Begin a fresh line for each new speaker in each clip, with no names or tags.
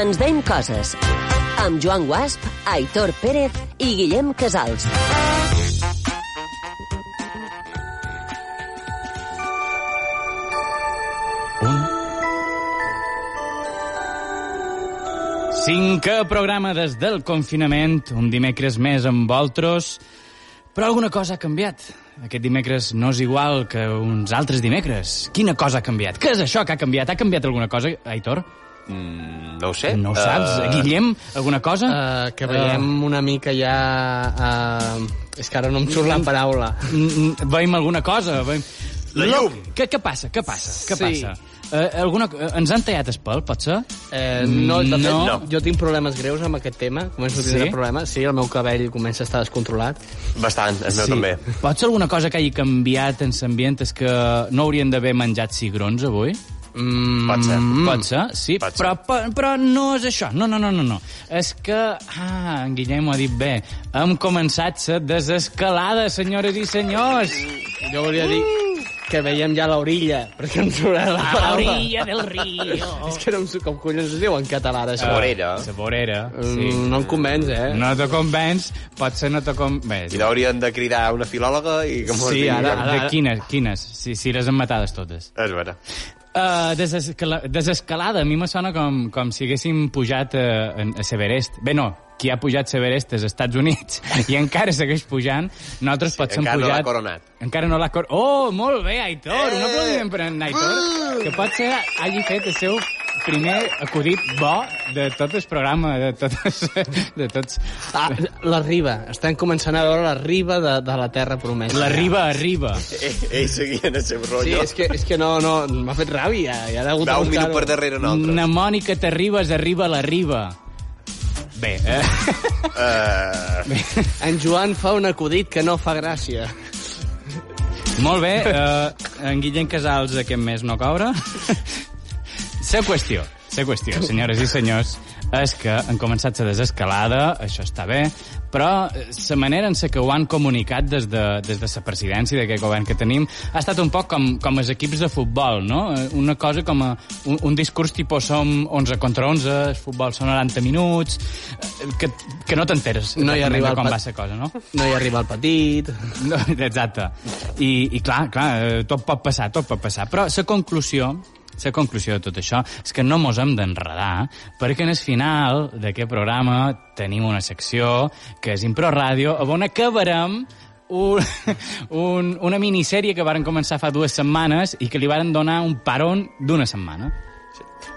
Ens deim coses. Amb Joan Guasp, Aitor Pérez i Guillem Casals.
Un... Cinquè programa des del confinament, un dimecres més amb Voltros, però alguna cosa ha canviat. Aquest dimecres no és igual que uns altres dimecres. Quina cosa ha canviat? Què és això que ha canviat? Ha canviat alguna cosa, Aitor?
Mm, no ho sé.
No ho saps?
Eh.
Guillem, alguna cosa?
Eh, que veiem una mica ja... eh, és que ara no em surt la paraula.
Mm, mm, veiem alguna cosa. Veiem...
La
Lo-
llum.
Què, què passa? Què passa? Què
Sí.
passa? Eh, alguna, eh, ens han tallat el pèl, pot ser?
Eh, no, de fet,
No.
no. jo tinc problemes greus amb aquest tema. Començo a tindre
Sí?
sí? problemes. Sí, el meu cabell comença a estar descontrolat.
Eh, Bastant, el meu també.
Pot ser alguna cosa que hagi canviat en l'ambient? És que no haurien d'haver menjat cigrons avui?
Mm,
Pot ser.
Mm. Pot ser, sí,
Pot ser.
però, pe- però no és això. No, no, no, no, no. És que... Ah, en Guillem ho ha dit bé. Hem començat la desescalada, senyores i senyors.
jo volia dir que veiem ja l'orilla, perquè em surt la
A
paraula.
l'orilla del río.
És que no em surt com collons es diu en català,
La
d'això.
vorera.
La vorera, Ah, sí.
Mm, no em convenç, eh?
No te convenç, potser no te convenç.
I l'haurien de cridar a una filòloga i que mos
Sí,
digui-
ara,
ara-
de quines, quines? Si, si les han matades totes.
És vera.
Uh, desescala, desescalada, a mi me sona com, com si haguéssim pujat uh, a Severest. Bé, no, qui ha pujat Severest és als Estats Units i encara segueix pujant. Nosaltres sí, potser hem
encara no
pujat...
l'ha coronat.
Encara no l'ha coronat. Oh, molt bé, Aitor! Eh! Un aplaudiment per en Aitor, que potser hagi fet el seu primer acudit bo de tot el programa, de, totes, de tots...
Ah, la riba. Estem començant a veure la riba de, de la Terra Promesa.
La riba arriba.
Eh, Ell seguia en el seu
Sí,
rotllo.
és que, és que no, no, m'ha fet ràbia. Ja ha hagut
Va
de
un minut
buscar-ho.
per darrere nosaltres.
Na Mònica, t'arribes, arriba la riba. Bé, eh...
Eh,
En Joan fa un acudit que no fa gràcia.
Molt bé, eh, en Guillem Casals aquest mes no cobra. Ser qüestió, ser qüestió, senyores i senyors, és que han començat la desescalada, això està bé, però eh, la manera en la que ho han comunicat des de, des de la presidència d'aquest govern que tenim ha estat un poc com, com els equips de futbol, no? Eh, Una cosa com a, un, un discurs tipus som 11 contra 11, el futbol són 90 minuts, eh, que, que no t'enteres
No hi
exactament
arriba
de
el
com
pat-
va la cosa, no?
No hi arriba el petit...
No, exacte. I, I clar, clar, eh, tot pot passar, tot pot passar. Però la conclusió la conclusió de tot això és que no mos hem d'enredar perquè en el final d'aquest programa tenim una secció que és Impro Ràdio on acabarem un, un, una minissèrie que varen començar fa dues setmanes i que li varen donar un paron d'una setmana.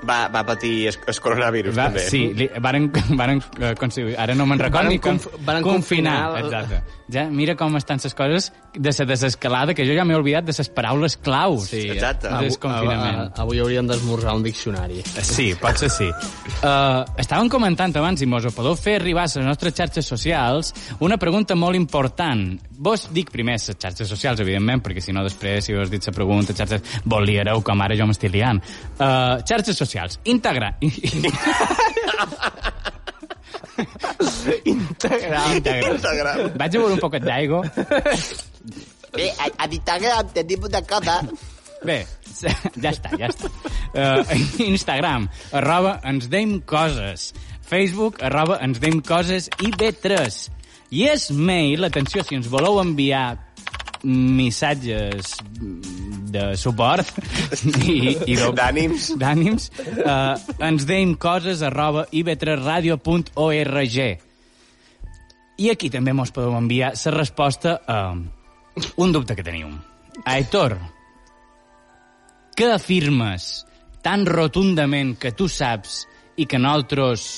va, va patir el, el coronavirus,
Va,
també.
sí, li, varen, varen eh, conseguir... Ara no me'n recordo
Varen
ni com...
conf- varen confinar el-
Exacte. Ja, mira com estan les coses de la desescalada, que jo ja m'he oblidat de les paraules claus. Sí,
Exacte.
De desconfinament.
A- a- Ah, Avui hauríem d'esmorzar un diccionari.
Eh, Sí, potser sí. Uh, estàvem comentant abans, i mos ho podeu fer arribar a les nostres xarxes socials, una pregunta molt important. Vos dic primer les xarxes socials, evidentment, perquè si no després, si us dit la pregunta, xarxes... Vos liareu, com ara jo m'estic liant. Uh, xarxes socials. Integra... Integrar. Integrar.
Instagram.
Vaig a veure un poquet d'aigua.
Bé, a, a Instagram tenim una cosa
Bé, ja està, ja està. Uh, Instagram, arroba ens deim coses. Facebook, arroba ens deim coses i B3. I és mail, atenció, si ens voleu enviar missatges de suport i, i de-
D'ànims.
d'ànims uh, ens deim coses arroba ib3radio.org i aquí també mos podeu enviar la resposta a un dubte que teniu Aitor, què afirmes tan rotundament que tu saps i que nosaltres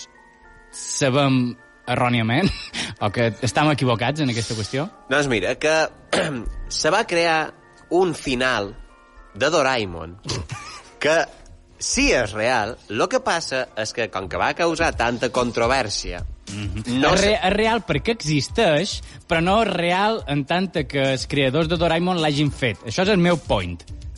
sabem erròniament o que estem equivocats en aquesta qüestió?
Doncs mira, que se va crear un final de Doraemon que sí és real, el que passa és que com que va causar tanta controvèrsia,
No
no
és,
se-
re, és real perquè existeix, però no és real en tant que els creadors de Doraemon l'hagin fet. Això és el meu point.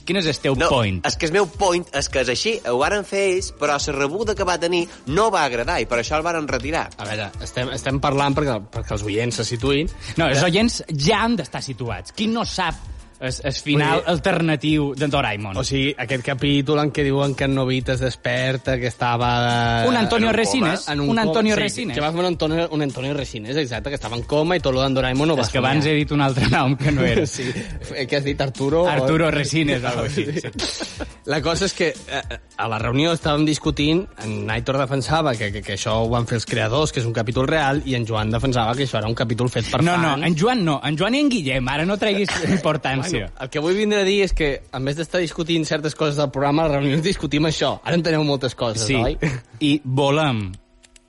Quin és el teu
No,
point?
és que el meu point és que és així, ho varen fer ells, però la rebuda que va tenir no va agradar i per això el varen retirar.
A veure, estem, estem parlant perquè, perquè els oients se situïn.
No, els oients ja han d'estar situats. Qui no sap És, és final
Vull dir-
alternatiu de Doraemon.
O sigui, aquest capítol en què diuen que en Novita es desperta, que estava... De...
un Antonio
en un coma.
Resines.
en
Un, Antonio
coma.
Resines.
Sí, que va fer un Antonio, un Antonio Resines, exacte, que estava en coma i tot lo d'en Doraemon no ho va
És que abans he dit un altre nom que no era.
Sí, eh, què has dit, Arturo? o-
Arturo Resines o alguna cosa així. sí.
La cosa és que eh, a la reunió estàvem discutint, en Aitor defensava que, que, que això ho van fer els creadors, que és un capítol real, i en Joan defensava que això era un capítol fet per
No, no,
fans.
en Joan no. En Joan i en Guillem. Ara no treguis importància.
El que vull vindre a dir és que, en vez d'estar discutint certes coses del programa, a les reunions discutim això. Ara enteneu moltes coses,
Sí,
oi?
i volem,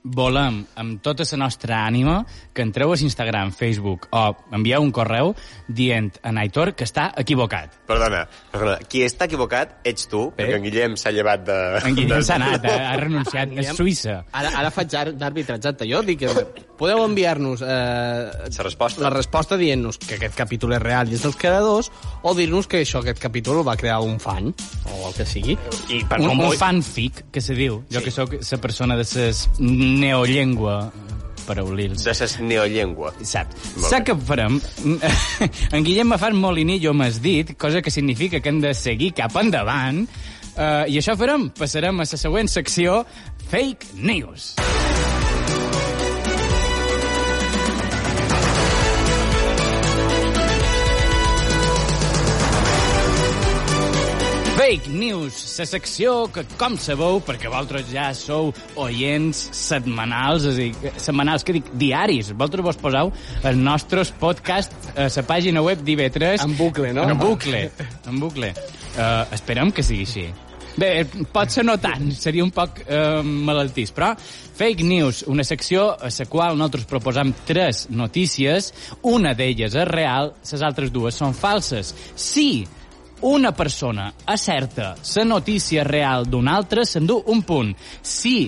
volem, amb tota la nostra ànima, que entreu a Instagram, Facebook o envieu un correu dient a Aitor que està equivocat.
Perdona, perdona, qui està equivocat ets tu, perquè en Guillem s'ha llevat de...
En Guillem
de-
s'ha anat, eh? ha renunciat, és
Guillem-
Suïssa.
Ara, ara faig ar- d'arbitratge, exacte. Jo dic que podeu enviar-nos eh,
La resposta.
la resposta dient-nos que aquest capítol és real i és dels creadors o dir-nos que això, aquest capítol, el va crear un fan o el que sigui.
I per
Un,
un,
un
vull...
fanfic, que se diu. Jo que sóc la persona de ses neollengua, paraulils.
de ses neollengua.
Sap.
Molt
Sap
bé.
que farem? Mm, en Guillem m'ha fet molinillo, m'has dit, cosa que significa que hem de seguir cap endavant. Uh, I això farem. Passarem a la següent secció, Fake News. Fake News, la secció que, com sabeu, perquè vosaltres ja sou oients setmanals, és a dir, que- setmanals, que dic, diaris, vosaltres vos poseu els nostres podcast a la pàgina web d'IV3.
En bucle, no?
En bucle, en bucle. Uh, esperem que sigui així. Bé, pot ser no tant, seria un poc eh, malaltís, però Fake News, una secció a la qual nosaltres proposam tres notícies, una d'elles és real, les altres dues són falses. Si una persona acerta la notícia real d'una altra, s'endú un punt. Si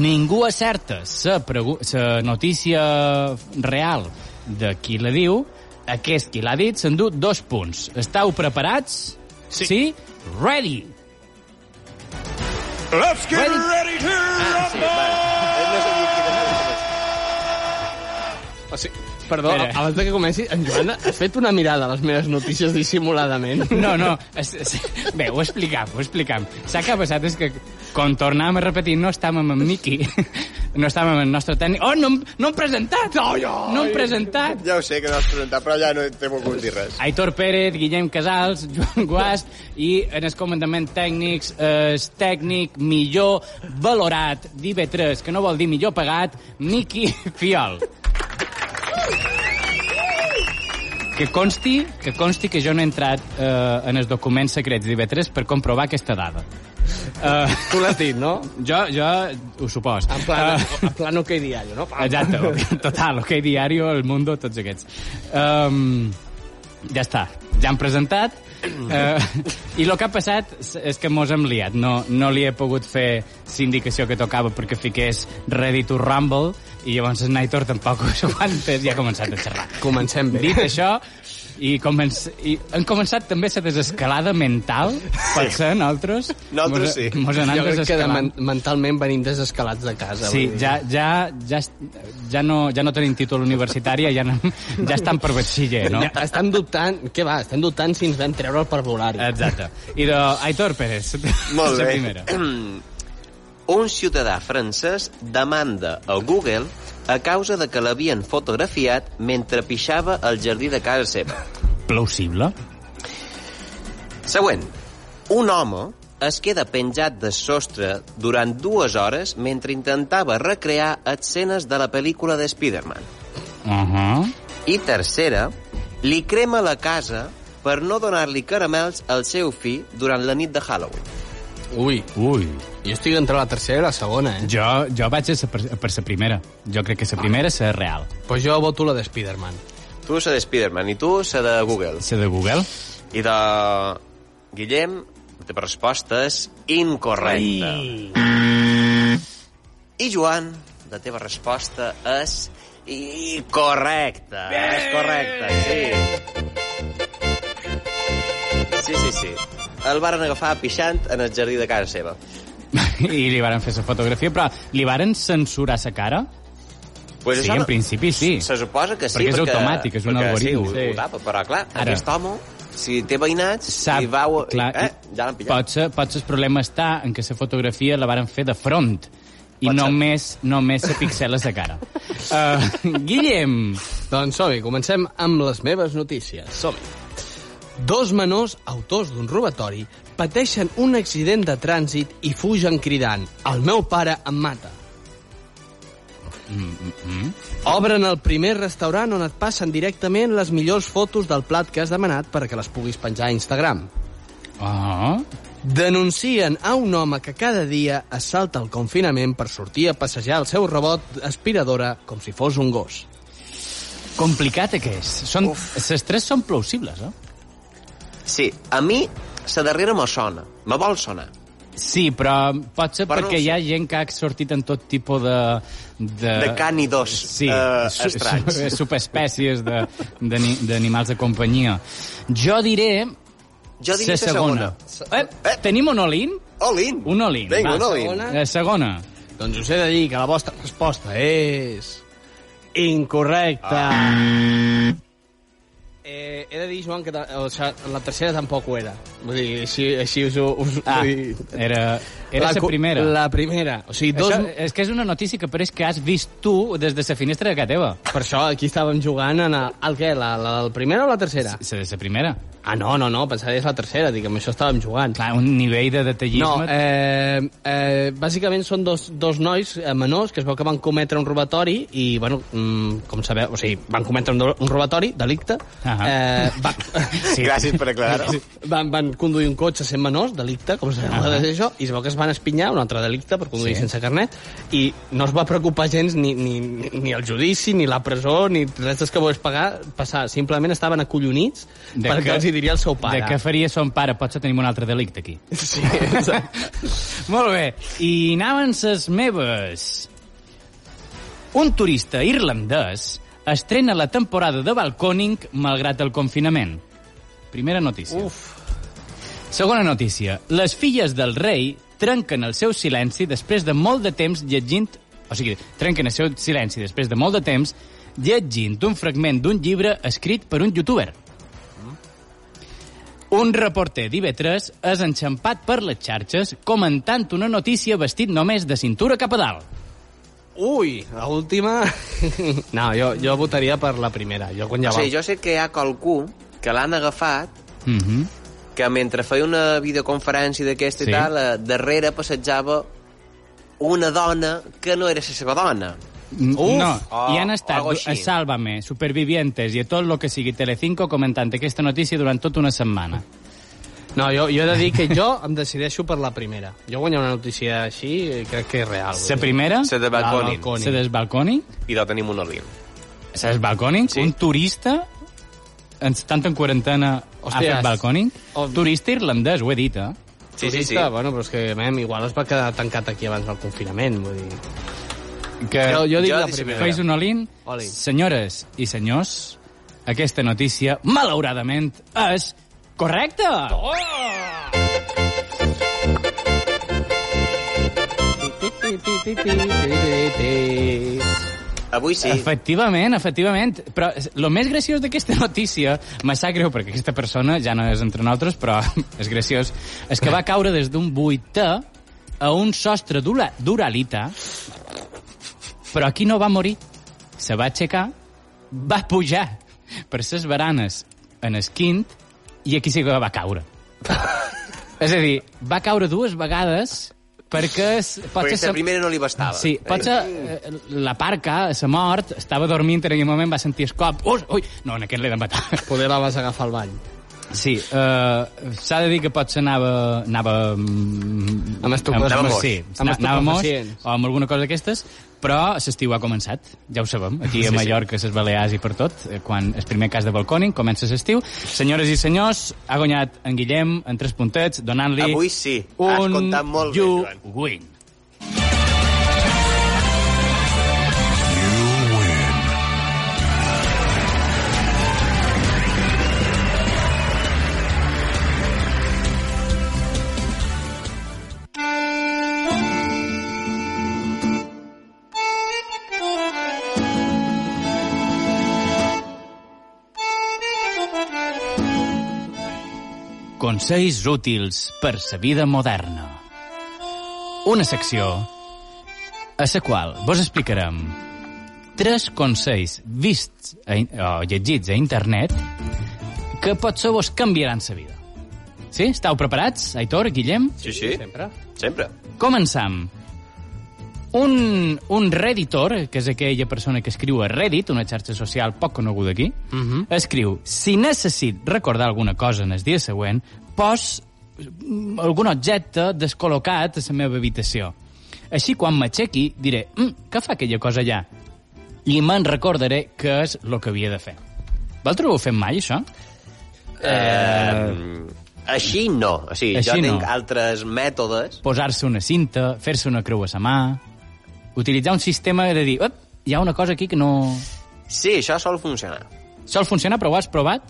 ningú acerta la, pregu- la notícia real de qui la diu, aquest qui l'ha dit s'endú dos punts. Estau preparats? Sí. sí? Ready!
Let's get
Ready?
ready to rumble!
O sigui, perdó,
Espera.
abans de que comenci, en Joan, has fet una mirada a les meves notícies dissimuladament?
No, no. Es, es, bé, ho explicam, ho explicam. S'ha que ha passat és que quan tornàvem a repetir no estàvem amb Miqui, no estàvem amb el nostre tècnic... Oh, no, em- no hem presentat! Ai, ai. No hem presentat!
Ja ho sé que no has presentat, però ja no t'he volgut dir res.
Aitor Pérez, Guillem Casals, Joan Guast i en el comandament tècnics el tècnic millor valorat d'IB3, que no vol dir millor pagat, Miqui Fiol. Que consti, que consti que jo no he entrat eh, en els documents secrets d'IB3 per comprovar aquesta dada. Eh,
Tu l'has dit, no?
jo, jo ho suposo.
En plan,
Eh,
en plan OK Diario, no?
Exacte, ok, total, ok, diario, el mundo, tots aquests. Um, ja està, ja han presentat.
Mm.
Uh, I el que ha passat és- és que mos hem liat. No, no li he pogut fer sindicació que tocava perquè fiqués Ready to Rumble i llavors el Naitor tampoc ho aguanta i ha començat a xerrar.
Comencem bé.
Dit això, i, començ... i han començat també la desescalada mental, pot ser, nosaltres?
Nosaltres sí.
Mos, mos anant
jo crec que de
desescalant.
men mentalment venim desescalats de casa.
Sí,
vull dir.
ja, ja, ja, es- ja, no, ja no tenim títol universitari, ja, no, ja estan per batxiller, no?
Ja, Estan dubtant... Què va? Estan dubtant si ens vam treure el parvulari.
Exacte. I de Aitor Pérez,
Molt
la
bé.
primera.
Un ciutadà francès demanda a Google a causa de que l'havien fotografiat mentre pixava al jardí de casa seva.
Plausible?
Següent. Un home es queda penjat de sostre durant dues hores mentre intentava recrear escenes de la pel·lícula de Spider-Man.
Uh -huh.
I tercera, li crema la casa per no donar-li caramels al seu fill durant la nit de Halloween.
Ui,
Ui.
jo estic entre la tercera i la segona, eh?
Jo, jo vaig a sa, per, per la primera. Jo crec que la primera és la real.
Pues jo voto la de Spider-Man.
Tu se de Spider-Man i tu se de Google.
La de Google?
I de... Guillem, la teva resposta és incorrecta. Ai. I Joan, la teva resposta és i correcta. És correcta, sí. Sí, sí, sí. El varen agafar pixant en el jardí de casa seva.
I li varen fer la fotografia, però li varen censurar la cara?
Pues
Sí,
això
en
no-
principi sí.
Se suposa que sí.
Perquè és automàtic, és un
perquè
algoritme.
Sí, ho,
Sí.
ho tapa, però clar,
Ara.
Ara. aquest home, si té veïnats,
sap,
i va...
clar,
eh, ja l'han pillat.
Potser, potser el problema està en què la fotografia la varen fer de front i
Pot ser.
només, només se pixeles de cara. Uh, Guillem,
Doncs som-hi, comencem amb les meves notícies. Som-hi. Dos menors, autors d'un robatori, pateixen un accident de trànsit i fugen cridant «El meu pare em mata». Obren el primer restaurant on et passen directament les millors fotos del plat que has demanat perquè les puguis penjar a Instagram.
oh,
Denuncien a un home que cada dia es salta el confinament per sortir a passejar el seu robot aspiradora com si fos un gos.
complicat que és. Són, les tres són plausibles, eh?
Sí, a mi, la darrera me sona. Me vol sonar.
Sí, però pot ser
Però no
perquè
ho sé.
hi ha gent que ha sortit en tot tipus de... De,
De cànidos
Sí,
eh,
su-
estranys.
su- subespècies de- d'ani- d'animals de, de companyia. Jo diré...
Jo diria
la
la segona.
segona. Eh, tenim un all-in?
Olin.
Un all-in.
Vinga,
va.
un all-in.
Segona.
La segona.
Doncs us he de dir que la vostra resposta és... Incorrecta. Eh, he de dir, Joan, que ta- o sigui, la tercera tampoc ho era. Vull dir, així, així us ho... Us,
Ah,
vull dir-
era, era la,
cu-
primera. La...
La primera. O sigui, dos...
Això,
Això...
és que és una notícia que pareix que has vist tu des de la finestra de casa teva.
Per això aquí estàvem jugant en el, el què? La, la, la primera o la tercera?
La, la primera.
Ah, no, no, no, pensava que és la tercera, dic, amb això estàvem jugant.
Clar, un nivell de detallisme...
No, eh, eh, bàsicament són dos, dos nois eh, menors que es veu que van cometre un robatori i, bueno, mm, com sabeu, o sigui, van cometre un, do- un robatori, delicte,
Ahà.
eh, va,
Sí.
Gràcies per aclarar-ho.
van, van conduir un cotxe sent menors, delicte, com sabeu,
Ahà.
això, i es veu que es van espinyar, un altre delicte, per conduir
Sí.
sí. sense carnet, i no es va preocupar gens ni, ni, ni- ni el judici, ni la presó, ni res dels que vols pagar, passar. Simplement estaven acollonits
De
pel que,
que-
els hi diria el seu
De
pare.
què faria son pare? Potser tenim un altre delicte aquí.
Sí, exacte.
Molt bé. I anaven ses meves. Un turista irlandès estrena la temporada de balconing malgrat el confinament. Primera notícia. Uf. Segona notícia. Les filles del rei trenquen el seu silenci després de molt de temps llegint... O sigui, trenquen el seu silenci després de molt de temps llegint un fragment d'un llibre escrit per un youtuber. Un reporter d'IV3 és enxampat per les xarxes comentant una notícia vestit només de cintura cap a dalt.
Ui, la última... No, jo, jo votaria per la primera. Jo quan ja
O sigui,
va...
jo sé que hi ha qualcú que l'han agafat
Mm -hmm.
que mentre feia una videoconferència
Sí.
d'aquesta sí. i tal, eh, darrere passejava una dona que no era la seva dona.
Uf, no,
o-
i han
o
estat
ah, algo així.
a Sálvame, Supervivientes i a tot lo que sigui Telecinco comentant aquesta notícia durant tota una setmana.
No, jo, jo he de dir que jo em decideixo per la primera. Jo guanyar una notícia així eh, crec que és real.
La primera,
Se de balconin.
balcó.
se desbalconin,
I no tenim un olin.
se desbalconin, sí.
Sí.
un turista estant en quarantena Hòsties.
Hòsties.
ha fet balconing.
Ob-
Turista irlandès, ho he dit, eh?
Sí, sí, sí.
Bueno, però és que, mem, igual es va quedar tancat aquí abans del confinament, vull dir...
Que...
Jo, jo dic
jo
la
dic
primera.
Feis un olín.
All-in.
Senyores i senyors, aquesta notícia, malauradament, és correcta! Oh!
Avui sí.
Efectivament, efectivament. Però el més graciós d'aquesta notícia, me sap greu perquè aquesta persona ja no és entre nosaltres, però és graciós, és que va caure des d'un vuitè a un sostre d'ula- d'uralita, però aquí no va morir. Se va aixecar, va pujar per ses baranes en esquint i aquí sí que va caure. és a dir, va caure dues vegades perquè... es- potser
Perquè la
se-
primera no li bastava.
Sí, potser eh, la parca, la mort, estava dormint en aquell moment, va sentir el cop. Ui, ui, no, en aquest l'he de matar.
Poder la vas agafar al bany.
Sí, eh, s'ha de dir que potser anava... anava mm,
Amb estupefac-
amb-
Anava moix.
Sí,
Amb
anava moix
estupefacients.
o amb alguna cosa d'aquestes, però l'estiu ha començat, ja ho sabem, aquí a Mallorca, a les Balears i per tot, eh, quan el primer cas de balcòning comença l'estiu. Senyores i senyors, ha guanyat en Guillem en tres puntets, donant-li
Avui sí. Has
un
comptat molt bé,
you
Joan.
win. Consells útils per sa vida moderna. Una secció a la qual vos explicarem tres consells vists a, in- o llegits a internet que potser vos canviaran sa vida. Sí? Estau preparats, Aitor, Guillem?
Sí, sí,
Sempre.
sempre.
Començam. Un, un redditor, que és aquella persona que escriu a Reddit, una xarxa social poc coneguda aquí,
Mhm.
escriu, si necessit recordar alguna cosa en el dia següent, pos mm, algun objecte descol·locat a la meva habitació. Així, quan m'aixequi, diré, mm, què fa aquella cosa allà? I me'n recordaré què és el que havia de fer. Vosaltres ho heu fet mai, això?
Així no. O sigui,
Així
jo tinc
no.
altres mètodes.
posar-se una cinta, fer-se una creu a sa mà, utilitzar un sistema de dir, "Ep, hi ha una cosa aquí que no...
Sí, això sol funcionar.
Sol funcionar, però ho has provat?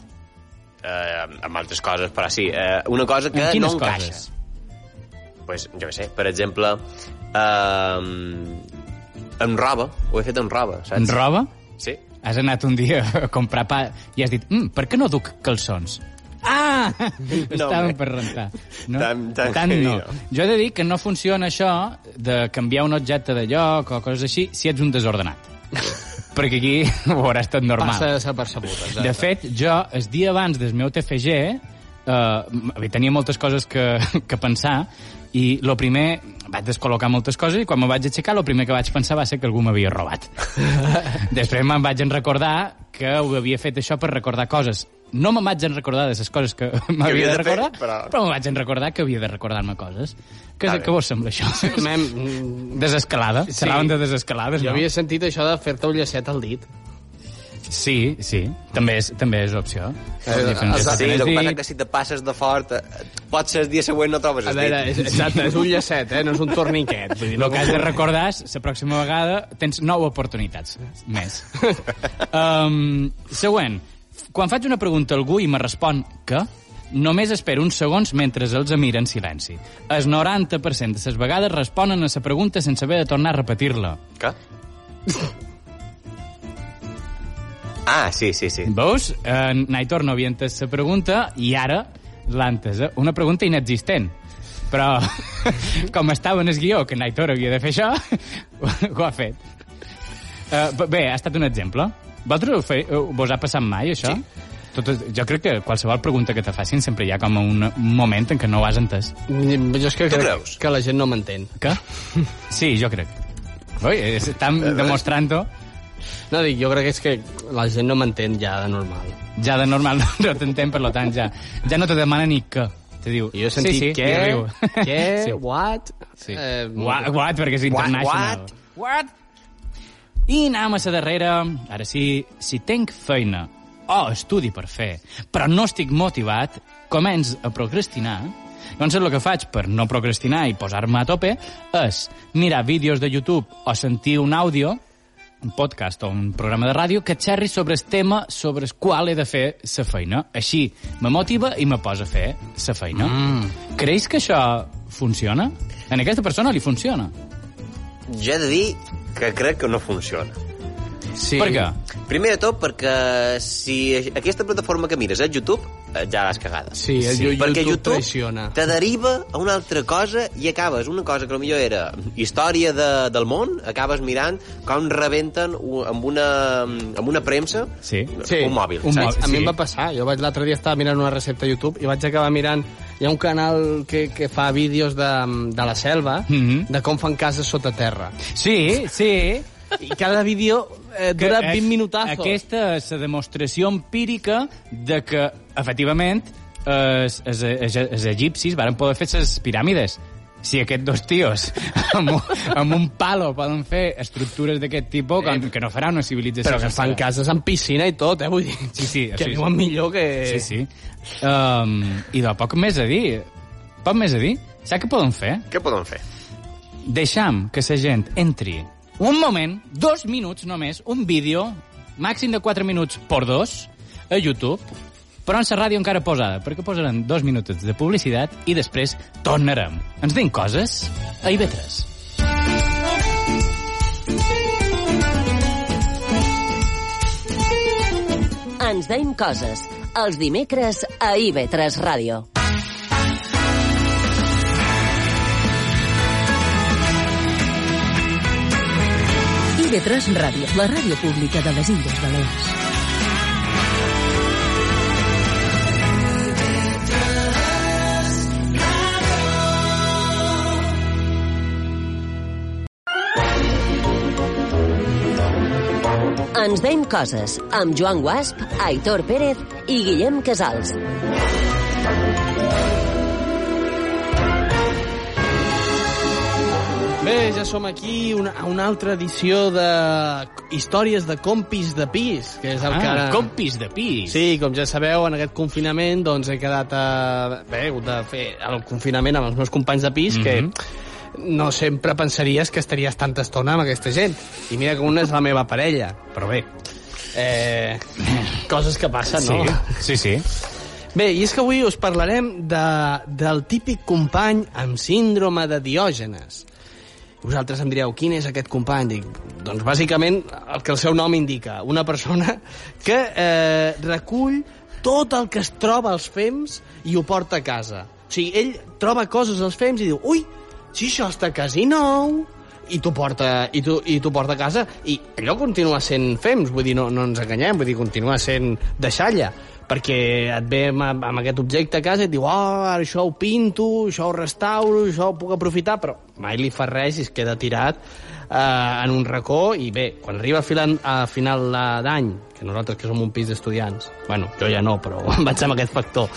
Eh, amb altres coses, però sí. Eh, una cosa que
En
no
quines
encaixa.
coses?
pues, jo què sé, per exemple, eh, amb roba. Ho he fet amb roba, saps?
En roba?
Sí.
Has anat un dia a comprar pa i has dit, mm, per què no duc calçons? Ah! Estàvem
home.
per rentar. No?
Tan- tan
Tant
heavy,
no.
no.
Jo he de dir que no funciona això de canviar un objecte de lloc o coses així si ets un desordenat. Perquè aquí ho hauràs tot normal.
Passa desapercebuda. exacte.
De fet, jo, el dia abans del meu TFG, eh, tenia moltes coses que, que pensar, i lo primer, vaig descol·locar moltes coses, i quan me vaig aixecar, el primer que vaig pensar va ser que algú m'havia robat. Després me'n vaig en recordar que ho havia fet això per recordar coses. No me'n vaig en recordar de les coses que m'havia
havia
de
de fer,
recordar, però,
però-
però me'n vaig en recordar que havia de recordar-me coses. Que,
Està bé.
que vos sembla això?
Mem, mm,
Desescalada? Sí.
Sí.
Seràvem de desescalades,
jo
no?
havia sentit això de fer-te un llacet al dit.
Sí, sí. També és, també és opció. Diferents
Eh, Sí,
estaciones
el que
i-
passa que si te passes de fort, eh, pot ser el dia següent no trobes
A
el
veure,
eh.
és,
dit.
exacte, és un llacet, eh? no és un torniquet. Vull dir,
El que has de recordar és, la pròxima vegada tens nou oportunitats més. um, següent. Quan faig una pregunta a algú i me respon que, només espero uns segons mentre els mira en silenci. El 90% de les vegades responen a la pregunta sense haver de tornar a repetir-la.
Què? Ah, sí, sí, sí.
Veus? En Naitor no havia entès la pregunta i ara l'ha entesa. Una pregunta inexistent. Però, com estava en el guió que Naitor havia de fer això, ho ha fet. Uh, bé, ha estat un exemple. Vosaltres ho fe, eh, vos ha passat mai, això? Sí. Tot, jo crec que qualsevol pregunta que te facin sempre hi ha com un moment en què no ho has entès.
Mm, Jo és que crec
creus?
que la gent no m'entén.
Què? Sí, jo crec. Oi, estan demostrant-ho.
No, dic, jo crec que és que la gent no m'entén ja de normal.
ja de normal no, no t'entén, per lo tant, ja, ja no te demana ni què. Te diu,
I jo he sentit
sí, sí,
què,
i riu.
què,
Sí.
what?
Sí.
Eh,
what, what, perquè és international.
what?
what? I anem a la darrera. Ara sí, si tenc feina o estudi per fer, però no estic motivat, començ a procrastinar, doncs el que faig per no procrastinar i posar-me a tope és mirar vídeos de YouTube o sentir un àudio, un podcast o un programa de ràdio que xerri sobre el tema sobre el qual he de fer la feina. Així me motiva i me posa a fer la feina. Mm. Creus que això funciona? En aquesta persona li funciona.
Jo he de dir que crec que no funciona.
Sí.
Sí. Per què?
Primer de tot, perquè si aquesta plataforma que mires és YouTube, eh, ja l'has cagada.
Sí, el YouTube
perquè
traiciona.
te deriva a una altra cosa i acabes una cosa que potser era història de, del món, acabes mirant com rebenten u- amb una, amb una premsa
Sí.
Sí.
un mòbil,
Un
saps?
mòbil.
A mi
Sí.
em va passar. Jo vaig l'altre dia estava mirant una recepta a YouTube i vaig acabar mirant... Hi ha un canal que, que fa vídeos de, de la selva,
Mhm.
de com fan cases sota terra.
Sí, sí.
I cada vídeo eh, dura
Que, eh,
20 minutazos.
Aquesta és la demostració empírica de que, efectivament, els, els, els, els egipcis varen poder fer les piràmides. Si aquests dos tios amb un, amb un palo poden fer estructures d'aquest tipus, com, que no farà una civilització.
Eh, Però que fan
sencera.
cases amb piscina i tot, eh? Vull dir,
Sí, sí,
que
sí,
viuen
sí.
millor que...
Sí, sí. Um, I de poc més a dir. Poc més a dir. Saps què poden fer?
Què podem fer?
deixam que la gent entri un moment, dos minuts només, un vídeo, màxim de 4 minuts per dos, a YouTube, però en la ràdio encara posada, perquè posaran dos minutets de publicitat i després tornarem. Ens deim coses a IB3.
Ens deim coses. Els dimecres a IB3 Ràdio.
TV3 Ràdio, la ràdio pública de les Illes Balears.
Ens deim coses amb Joan Guasp, Aitor Pérez i Guillem Casals.
Bé, ja som aquí una, a una altra edició de Històries de Compis de Pis, que és el que ara...
Ah, compis de pis.
Sí, com ja sabeu, en aquest confinament doncs, he quedat a... Bé, he hagut de fer el confinament amb els meus companys de pis, mm -hmm. que
Mhm.
no sempre pensaries que estaries tanta estona amb aquesta gent. I mira que una és la meva parella.
Però bé,
Eh, coses que passen,
sí,
no?
sí, sí.
Bé, i és que avui us parlarem de, del típic company amb síndrome de diògenes. Vosaltres em direu, quin és aquest company? Dic, doncs bàsicament el que el seu nom indica, una persona que eh, recull tot el que es troba als fems i ho porta a casa. O sigui, ell troba coses als fems i diu, ui, si això està quasi nou, i t'ho porta, i t'ho- i t'ho porta a casa, i allò continua sent fems, vull dir, no, no ens enganyem, vull dir, continua sent deixalla, perquè et ve amb, amb aquest objecte a casa i et diu, oh, ara això ho pinto, això ho restauro, això ho puc aprofitar, però mai li fa res i es queda tirat eh, en un racó, i bé, quan arriba a filan- a final eh, d'any, que nosaltres que som un pis d'estudiants, bueno, jo ja no, però vaig amb aquest factor.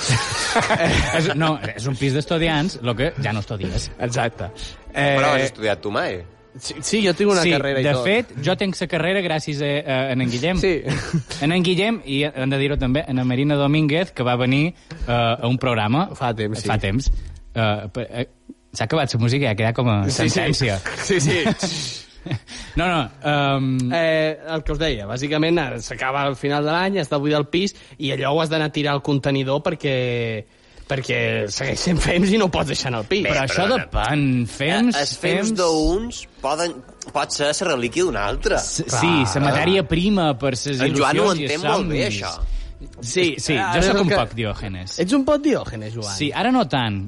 Eh,
és, no, és un pis d'estudiants, el que ja no estudies.
Exacte.
Eh... Però has estudiat tu mai.
sí, sí, jo tinc una
sí,
carrera i
de
tot.
fet, jo tinc la carrera gràcies a, a, a en Guillem.
Sí.
En en Guillem, i hem de dir-ho també, en Marina Domínguez, que va venir uh, a un programa...
Fa temps, sí.
Fa temps. Uh, uh, S'ha acabat la música, ha quedat com a
Sí, sí.
sentència.
Sí, sí.
No, no, um,
Eh, el que us deia, bàsicament ara s'acaba al final de l'any, està buit el pis i allò ho has d'anar a tirar al contenidor perquè perquè segueix sent fems i no ho pots deixar en el pis.
però,
Però,
això depèn. Fems,
Els fems d'uns poden... pot ser la relíquia d'un altre.
S- Sí, la matèria prima per ses il·lusions
En Joan ho
i els
entén molt bé,
somnis.
això.
Sí, sí
Ara
jo
és
sóc
el
un
que-
poc diògenes.
Ets un pot diògenes, Joan.
Sí, ara no tant,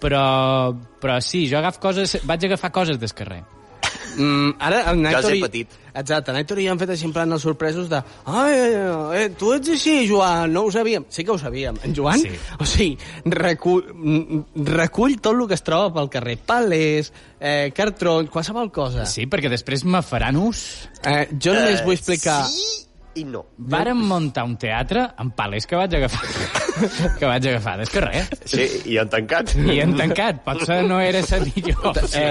però, però sí, jo agafo coses, vaig agafar coses del carrer.
Mm, ara
Ja
el
els
Nàctor...
he
i-
patit.
Exacte, el Nàctor i jo hem fet així en plan els sorpresos de ai, eh, tu ets així, Joan, no ho sabíem. Sí que ho sabíem. En Joan,
Sí.
sí. o sigui, recull, mm, recull tot el que es troba pel carrer. Palers, eh, cartrons, qualsevol cosa.
Sí, perquè després me faran ús.
Eh, jo només vull explicar...
Sí i no.
Vàrem muntar un teatre amb palers que vaig agafar, que vaig agafar del carrer.
Sí, i han tancat.
I hem tancat, potser no era la millor opció.
Eh,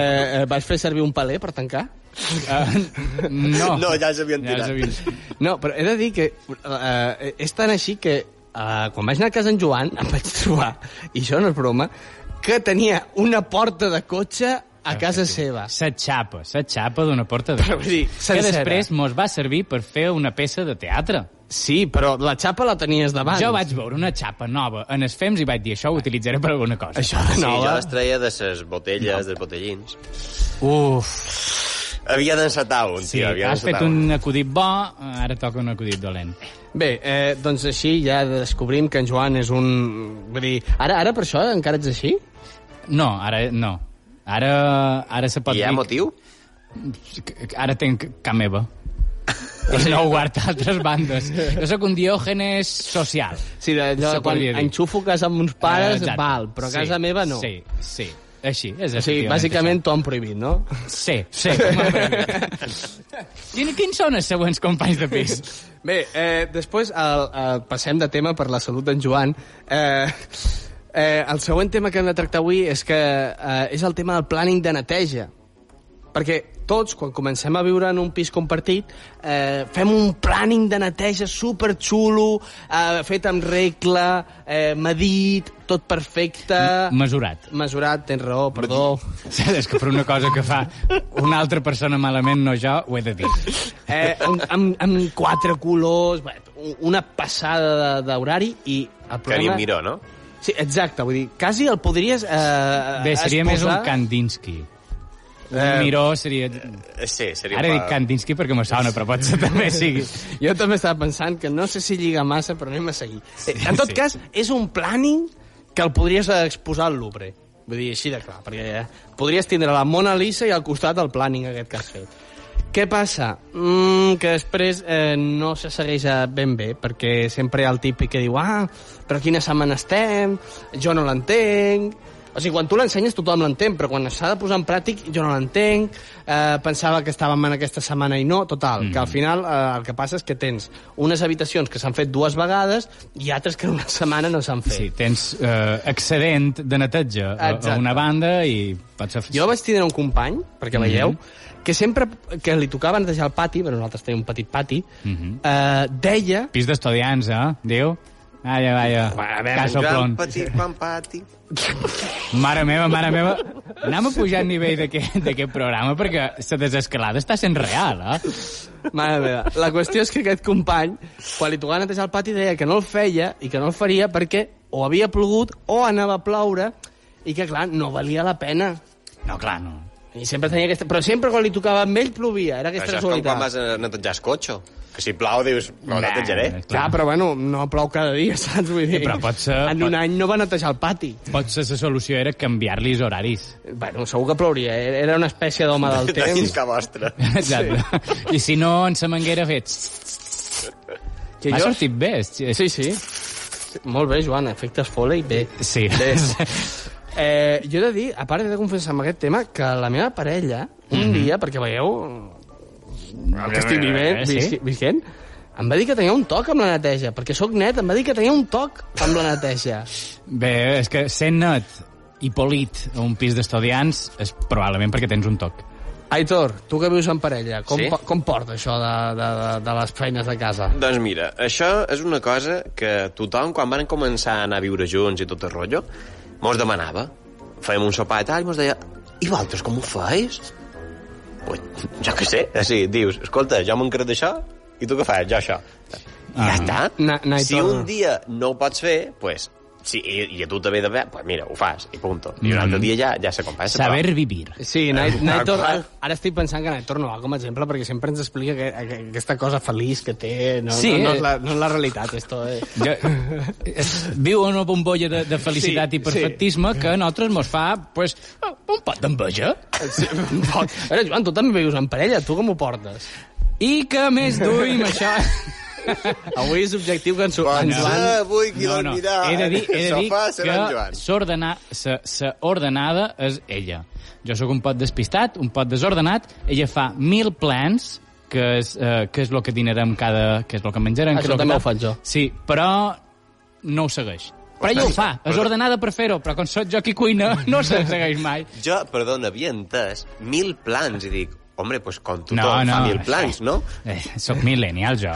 eh, vas fer servir un paler per tancar?
Eh, no.
No, ja els havien
els
tirat.
havien-
No, però he de dir que eh, és tan així que eh, quan vaig anar a casa en Joan em vaig trobar, i això no és broma, que tenia una porta de cotxe
Ah,
a casa seva.
Se xapa, se xapa d'una porta de...
Però vull dir,
que
sencera.
després mos va servir per fer una peça de teatre.
Sí, però la xapa la tenies davant.
Jo vaig veure una xapa nova en els fems i vaig dir, això ho utilitzaré per alguna cosa.
Això
Sí,
de
jo
nova...
les treia de ses botelles, dels botellins.
Uf,
Havia d'encetar un,
sí,
tio. havia
has fet
d'encetar
un acudit bo, eh, ara toca un acudit dolent.
Bé, eh, doncs així ja descobrim que en Joan és un... Vull dir, ara, ara per això encara ets així?
No, ara no. Ara, ara se pot
I hi ha
dir...
motiu?
Ara tenc ca meva. I no ho guarda a altres bandes. Jo sóc un diògenes social.
Sí, allò,
Se
quan
podria dir.
enxufo casa amb uns pares,
Eh, Exacte.
val, però a casa
sí,
meva no.
Sí, sí. Així, és
O sigui, bàsicament t'ho han prohibit, no?
Sí, sí. Quin, quins són els següents companys de pis?
Bé, eh, després el, el, passem de tema per la salut d'en Joan. Eh, eh, el següent tema que hem de tractar avui és que eh, és el tema del planning de neteja. Perquè tots, quan comencem a viure en un pis compartit, eh, fem un planning de neteja superxulo, eh, fet amb regla, eh, medit, tot perfecte...
Mesurat.
Mesurat, tens raó, perdó.
Saps que per una cosa que fa una altra persona malament, no jo, ho he de dir.
eh, amb, amb, amb quatre colors, bé, una passada de- d'horari i el
Que ni
problema...
miró, no?
Sí, exacte, vull dir, quasi el podries... Eh,
Bé, seria més un
exposar-
Kandinsky.
Eh,
Un Miró seria...
Eh, Sí, seria...
Ara
pa-
dic Kandinsky perquè me sona, però potser també sigui...
Jo també estava pensant que no sé si lliga massa, però anem a seguir. Sí, en tot
sí.
sí. cas, és un planning que el podries exposar al Louvre. Vull dir, així de clar, perquè eh, podries tindre la Mona Lisa i al costat el planning aquest que has fet. Què passa? Mm, que després eh, no se segueix eh, ben bé, perquè sempre hi ha el típic que diu ah, però quina setmana estem, jo no l'entenc... O sigui, quan tu l'ensenyes tothom l'entén, però quan s'ha de posar en pràctic jo no l'entenc, eh, pensava que estàvem en aquesta setmana i no, total, mm. que al final eh, el que passa és que tens unes habitacions que s'han fet dues vegades i altres que en una setmana no s'han fet.
Sí, tens eh, excedent de neteja eh, a- a
Exacte.
una banda i pots... af-
Jo vaig tindre un company, perquè
Mhm.
veieu, que sempre que li tocava netejar el pati, però nosaltres tenim un petit pati,
Mhm.
eh, deia...
Pis d'estudiants, eh? Diu? Vaja, vaja.
Va, a veure,
Casa plon.
Gran petit quan pati.
Mare meva, mare meva. Anem a pujar el nivell d'aquest d'aquest programa perquè la desescalada està sent real, eh?
Mare meva. La qüestió és que aquest company, quan li tocava netejar el pati, deia que no el feia i que no el faria perquè o havia plogut o anava a ploure i que, clar, no valia la pena.
No, clar, no.
I sempre tenia aquesta... Però sempre quan li tocava amb ell plovia, era aquesta
Això és com
casualitat.
quan vas a netejar el cotxe. Que si plau dius, no,
Nah.
netejaré.
Clar, però bueno, no plou cada dia, saps? Vull dir,
però pot ser-
en
pot-
un any no va netejar el pati.
Potser la solució era canviar-li els horaris.
Bueno, segur que plouria. eh? Era una espècie d'home del
De
temps.
finca vostra.
Exacte. I si no, en sa manguera fets...
Que
Ha
jo-
sortit bé. Sí,
Sí, sí. Molt bé, Joan, efectes foley, bé.
Sí.
Bé. Eh, jo he de dir, a part de confessar amb aquest tema, que la meva parella, un dia, perquè veieu el que estic vivent,
eh, Sí?
sí? vigent, em va dir que tenia un toc amb la neteja, perquè sóc net, em va dir que tenia un toc amb la neteja.
Bé, és que sent net i polit a un pis d'estudiants és probablement perquè tens un toc.
Aitor, tu que vius en parella, com,
Sí?
po- com porta això de, de, de, de les feines de casa?
Doncs mira, això és una cosa que tothom, quan van començar a anar a viure junts i tot el rotllo, mos demanava. Fèiem un sopar i tal, i mos deia, i vosaltres com ho feis? Pues, jo què sé. Així, dius, escolta, jo m'encarrego d'això, i tu què fas? Jo això. Ah. Ja està.
Na- anar i
si
tornar.
un dia no ho pots fer, pues, si, i, i a tu també de pues mira, ho fas, i punto. I un
Mhm.
altre dia ja, ja se compensa. però-
Saber vivir.
Sí, Nai-
Eh,
Naitor,
clar.
ara- ara estic pensant que Naitor no va com a exemple perquè sempre ens explica que, que, aquesta cosa feliç que té, no,
Sí.
no, no, és, la, no és la realitat, esto, eh?
Jo, es, viu en una bombolla de, de felicitat sí,
Sí,
i perfectisme sí. que a nosaltres mos fa pues, un pot d'enveja.
Sí, un poc. A veure, Joan, tu també vius en parella, tu com ho portes?
I que a més duim això...
Avui és objectiu que ens, ho-
Bon
ens ho han...
dia, vull qui dormirà.
He de dir, he de dir
Sofà serà en
que
Joan.
s'ordena- sa, sa ordenada és ella. Jo sóc un pot despistat, un pot desordenat, ella fa mil plans, que és, eh, que és el que dinarem cada... que és el que menjarem. que
Això
és lo que
també
tal.
ho faig jo.
Sí, però no ho segueix. Però ella ho fa, és ordenada per fer-ho, però quan sóc jo qui cuina no se segueix mai.
Jo, perdona, havia entès mil plans i dic, hombre, pues com tothom
No, no.
fa mil plans, no?
Eh, soc millennial, jo.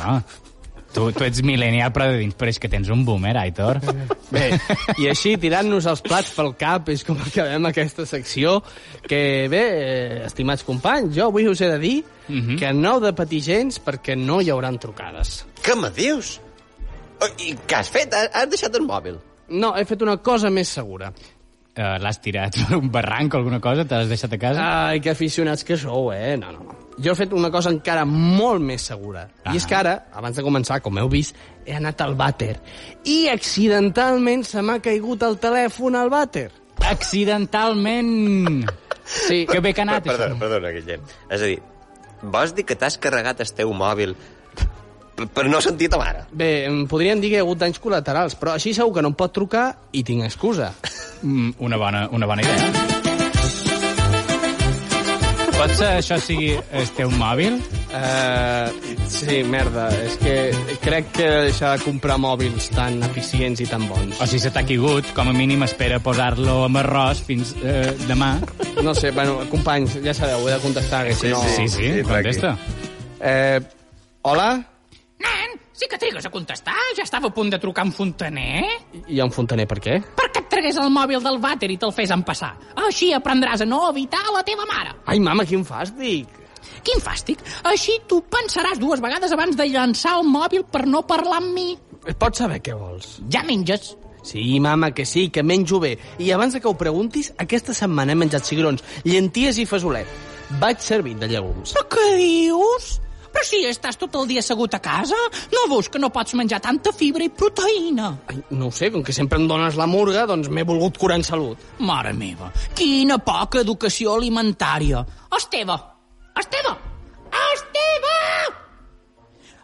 Tu, tu ets millennial, però de dins, però és que tens un boomer, Aitor.
Bé, i així, tirant-nos els plats pel cap, és com acabem aquesta secció, que bé, eh, estimats companys, jo avui us he de dir
Mhm.
que no heu de patir gens perquè no hi hauran trucades.
Què me dius? Oh, I què has fet? Has, has deixat el mòbil.
No, he fet una cosa més segura.
Eh, L'has tirat per un barranc o alguna cosa, te l'has deixat a casa?
Ai, que aficionats que sou, eh? No, no. Jo he fet una cosa encara molt més segura. Ah. I és que ara, abans de començar, com heu vist, he anat al vàter. I accidentalment se m'ha caigut el telèfon al vàter.
Accidentalment!
Ah. Sí.
Que bé que ha anat,
Perdona,
això.
perdona, Guillem. És a dir, vols dir que t'has carregat el teu mòbil per, per no sentir ta mare?
Bé, em podríem dir que hi ha hagut danys col·laterals, però així segur que no em pot trucar i tinc excusa.
Mm, Una bona, una bona idea. Pot ser això sigui el teu mòbil?
Uh, sí, merda, és que crec que deixar de comprar mòbils tan eficients i tan bons.
O si se t'ha caigut, com a mínim espera posar-lo amb arròs fins eh, demà.
No sé, bueno, companys, ja sabeu, he de contestar, que si no...
Sí, sí, contesta.
Eh, hola?
Nen, sí que trigues a contestar. Ja estava a punt de trucar a un fontaner.
I un fontaner per què?
Perquè et tragués el mòbil del vàter i te'l fes empassar. Així aprendràs a no evitar la teva mare.
Ai, mama, quin fàstic!
Quin fàstic. Així tu pensaràs dues vegades abans de llançar el mòbil per no parlar amb mi.
Pots saber què vols?
Ja menges.
Sí, mama, que sí, que menjo bé. I abans de que ho preguntis, aquesta setmana he menjat cigrons, llenties i fesolet. Vaig servint de llegums.
Però què dius? Però si estàs tot el dia assegut a casa, no veus que no pots menjar tanta fibra i proteïna?
Ai, no ho sé, com que sempre em dones la murga, doncs m'he volgut curar en salut.
Mare meva, quina poca educació alimentària. Esteve, Esteve,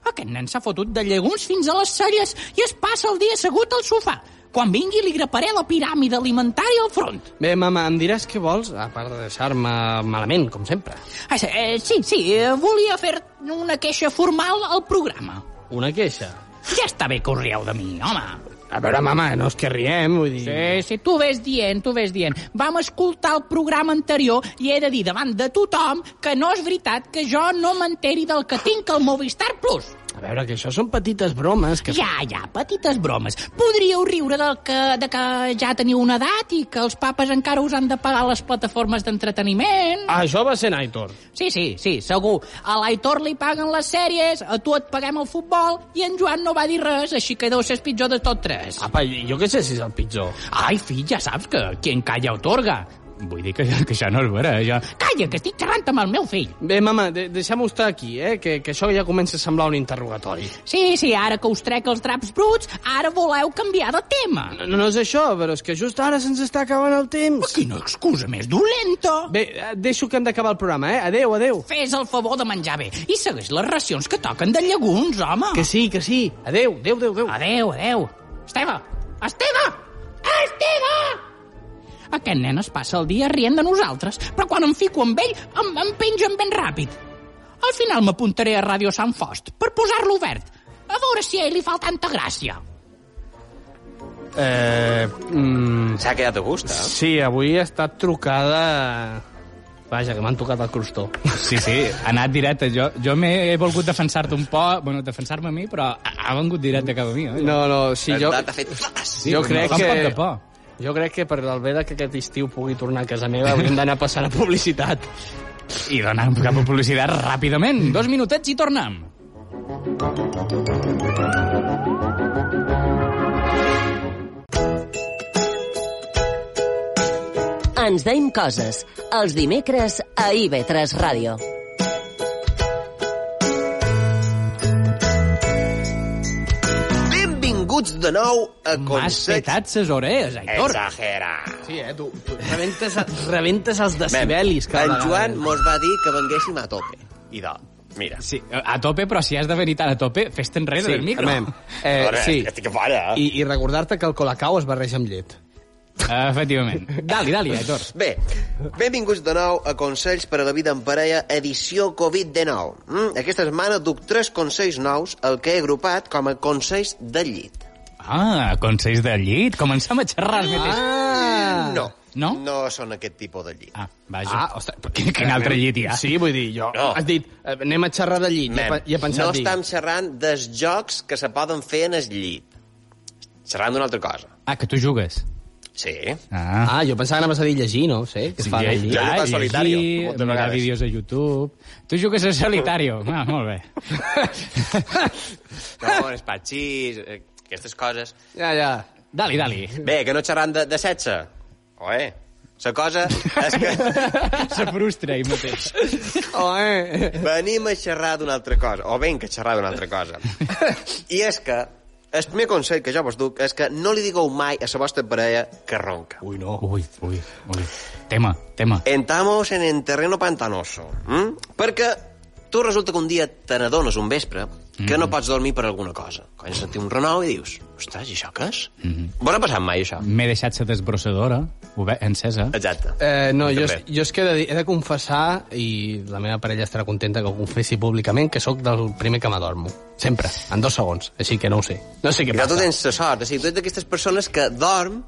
Aquest nen s'ha fotut de llegums fins a les celles i es passa el dia assegut al sofà. Quan vingui li graparé la piràmide alimentària al front.
Bé, mama, em diràs què vols, a part de deixar-me malament, com sempre.
Ah, sí, eh, sí, sí, eh, volia fer una queixa formal al programa.
Una queixa.
Ja està bé que us rieu de mi, home.
A veure, mama, no és que riem, vull dir...
Sí, sí, tu ves dient, tu ves dient. Vam escoltar el programa anterior i he de dir davant de tothom que no és veritat que jo no m'enteri del que tinc al Movistar Plus.
A veure, que això són petites bromes que...
Ja, ja, petites bromes. Podríeu riure del que, de que ja teniu una edat i que els papes encara us han de pagar les plataformes d'entreteniment.
Ah, Això va ser Naitor.
Sí, sí, sí, segur. A l'Aitor li paguen les sèries, a tu et paguem el futbol i en Joan no va dir res, així que deu ser el pitjor de tot tres.
Apa, jo què sé si és el pitjor.
Ah. Ai, fill, ja saps que quien calla otorga.
Vull dir que, que això no és vera, eh, ja...
Calla, que estic xerrant amb el meu fill.
Bé, mama, de deixem-ho estar aquí, eh? Que, que això ja comença a semblar un interrogatori.
Sí, sí, ara que us trec els draps bruts, ara voleu canviar de tema.
No, no és això, però és que just ara se'ns està acabant el temps.
Quina excusa més dolenta!
Bé, eh, deixo que hem d'acabar el programa, eh? Adéu, adéu.
Fes el favor de menjar bé i segueix les racions que toquen de llegums, home.
Que sí, que sí. Adéu, adéu, adéu, adéu.
Adeu, adeu. Esteve! Esteve! Esteve! Aquest nen es passa el dia rient de nosaltres, però quan em fico amb ell em, em pengen ben ràpid. Al final m'apuntaré a Ràdio Sant Fost per posar-lo obert, a veure si a ell li fa tanta gràcia.
Eh, mm,
S'ha quedat a gust, eh?
sí, avui ha estat trucada... Vaja, que m'han tocat el crostó.
Sí, sí, ha anat directe. Jo, jo m'he he volgut defensar-te un poc, bueno, defensar-me a mi, però ha, ha vengut directe cap a mi. Oi?
No, no, sí, jo,
T'ha fet... fas.
jo crec
Fa un poc de
que...
por.
Jo crec que per el bé de que aquest estiu pugui tornar a casa meva hauríem d'anar passant a publicitat.
I donar cap a publicitat ràpidament. Dos minutets i tornem.
Ens deim coses. Els dimecres a IB3 Ràdio.
Benvinguts de nou a
M'has
Consells...
petat ses orelles,
eh?
Aitor.
Exagera.
Sí, eh, tu, tu rebentes, rebentes els decibelis cada
en
vegada.
Joan mos va dir que venguéssim a tope. I de... Mira.
Eh,
Sí, a tope, però si has de venir tan a tope, fes-te enrere
Sí,
del micro.
amem. Eh,
Ara,
sí.
Estic a fora, eh?
I, I recordar-te que el colacau es barreja amb llet. eh,
Efectivament. Dali, dali, Aitor.
Bé, benvinguts de nou a Consells per a la vida en parella, edició Covid-19. Mm, aquesta setmana duc tres consells nous, el que he agrupat com a consells de llit.
Ah, consells de llit. Comencem a xerrar els mateixos.
Ah!
No.
No?
No són aquest tipus de llit.
Ah, vaja.
Ah, ostres, però
quin, quin altre llit hi ha?
Sí, vull dir, jo...
No.
No. Has dit, eh, anem a xerrar de llit. Ja,
Mem,
pe- ja he pensat
no
dir...
estem xerrant dels jocs que se poden fer en el llit. Xerrant d'una altra cosa.
Ah, que tu jugues.
Sí.
Ah.
Ah, jo pensava que anaves a dir llegir, no ho sé. Què es fa
ja-
de llit?
Jo
ja,
jugo a
llegir,
solitario, moltes
mirar
vegades.
vídeos a YouTube... Tu jugues a solitario. Ah, molt bé.
No, els patxís, eh, aquestes coses.
Ja, ja.
dali, dali.
Bé, que no xerrant de, de sexe. Oe. La cosa és que...
Se frustra ell mateix.
Oh, eh.
Venim a xerrar d'una altra cosa, o ben que xerrar d'una altra cosa. I és que el primer consell que jo vos duc és que no li digueu mai a la vostra parella que ronca.
Ui, no. Ui, ui, ui. Tema, tema.
Entramos en el terreno pantanoso, mm? perquè tu resulta que un dia te n'adones un vespre que no pots dormir per alguna cosa. Quan sentir un renou i dius, ostres, i això què és? Vos ha passat mai, això?
M'he deixat la desbrossadora obe- encesa.
Exacte.
Eh, no,
I
jo,
també.
jo és que he de, dir- he de confessar, i la meva parella estarà contenta que ho confessi públicament, que sóc del primer que m'adormo. Sempre, en dos segons. Així que no ho sé. No sé què
Però tu
passa.
tens la sort, o sigui, tu ets d'aquestes persones que dorm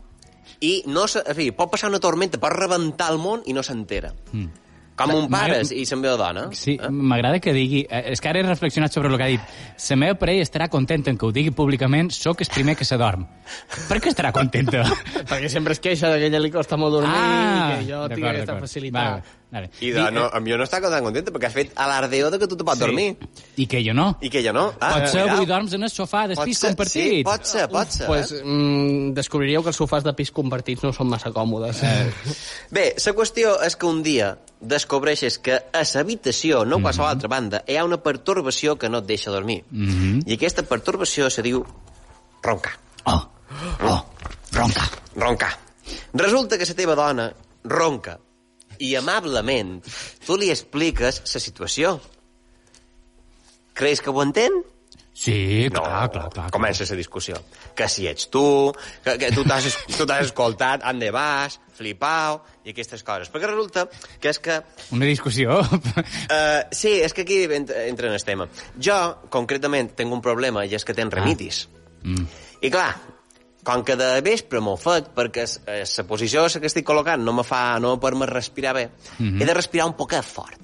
i no se... En fi, pot passar una tormenta, pot rebentar el món i no s'entera. Mm. Com un pare
M'agrada-
i se'n veu dona.
Sí, m'agrada que digui... eh, És que ara he reflexionat sobre el que ha dit. La meva parella estarà contenta en que ho digui públicament, sóc el primer que s'adorm. Per què estarà contenta?
Perquè sempre es queixa de que a ella li costa molt dormir, ah, que jo tinc
d'acord,
aquesta
d'acord.
facilitat.
Vale, vale.
I de, no, amb jo no està tan contenta perquè has fet alardeo de que tu te pots sí. dormir.
I que jo no.
I que ella no. Ah,
Potser
cuidao.
avui dorms en el sofà
Pot
d'espís
ser,
compartit.
Sí, pot ser, pot ser.
Doncs,
eh?
pues, mm, descobriríeu que els sofàs de pis compartits no són massa còmodes. Eh.
Bé, la qüestió és que un dia descobreixes que a l'habitació, no a qualsevol altra banda, hi ha una pertorbació que no et deixa dormir. I aquesta pertorbació se diu roncar.
Oh, oh, ronca.
roncar. Resulta que la teva dona ronca i amablement tu li expliques la situació. Creus que ho entén?
Sí,
No,
Ah, clar, clar, clar.
Comença la discussió. Que si ets tu, que, que tu t'has es- tu t'has escoltat, ande vas, flipau, i aquestes coses. Perquè resulta que és que...
Una discussió.
Uh, sí, és que aquí ent- entra en el tema. Jo, concretament, tinc un problema, i és que tenc remitis.
Ah. mm.
I clar, com que de vespre m'ofec perquè eh, la posició la que estic col·locant no me fa, no me permet respirar bé,
Mhm.
he de respirar un poquet fort.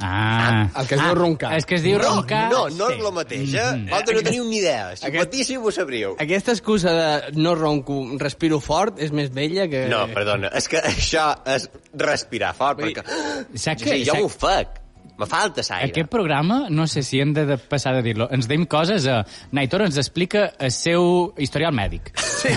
Ah.
El que es diu roncar.
És que es diu roncar.
No, no, no és el mateix, eh?
Mhm.
Mm -hmm. Vosaltres no teniu ni idea. Si
Aquest-
patíssiu ho sabríeu.
Eh,
Aquesta excusa de no ronco, respiro fort, és més vella que...
No, perdona, és que això és respirar fort,
Vull dir,
perquè...
saps
Sí,
que-
jo
saps-
ho fac. Me falta l'aire.
Aquest programa, no sé si hem de, de passar de dir-lo, ens deim coses a... Naitor ens explica el seu historial mèdic.
Sí.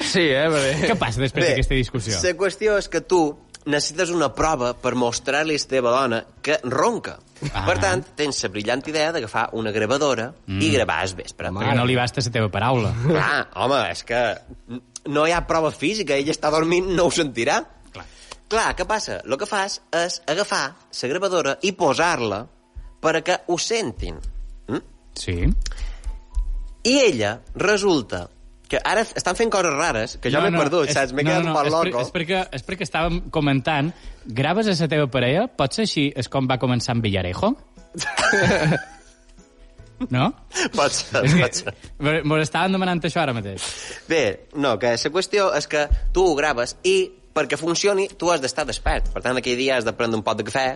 sí, eh? Perquè...
Què passa després d'aquesta discussió?
La qüestió és que tu necessites una prova per mostrar-li a la teva dona que ronca.
Ah.
Per tant, tens la brillant idea d'agafar una gravadora i gravar el vespre.
Perquè no li basta la teva paraula.
Clar, home, és que no hi ha prova física, ell està dormint, no ho sentirà.
Clar.
Clar, què passa? El que fas és agafar la gravadora i posar-la perquè ho sentin. Mm?
Sí.
I ella resulta que ara estan fent coses rares, que jo m'he perdut,
és-
saps? M'he quedat un poc
és per-
loco.
És perquè, és perquè estàvem comentant, graves a la teva parella, pot ser així és com va començar en Villarejo? no?
Pot ser,
És
pot
que
ser.
mos estaven demanant això ara mateix.
Bé, no, que la qüestió és que tu ho graves i perquè funcioni tu has d'estar despert. Per tant, aquell dia has de prendre un pot de cafè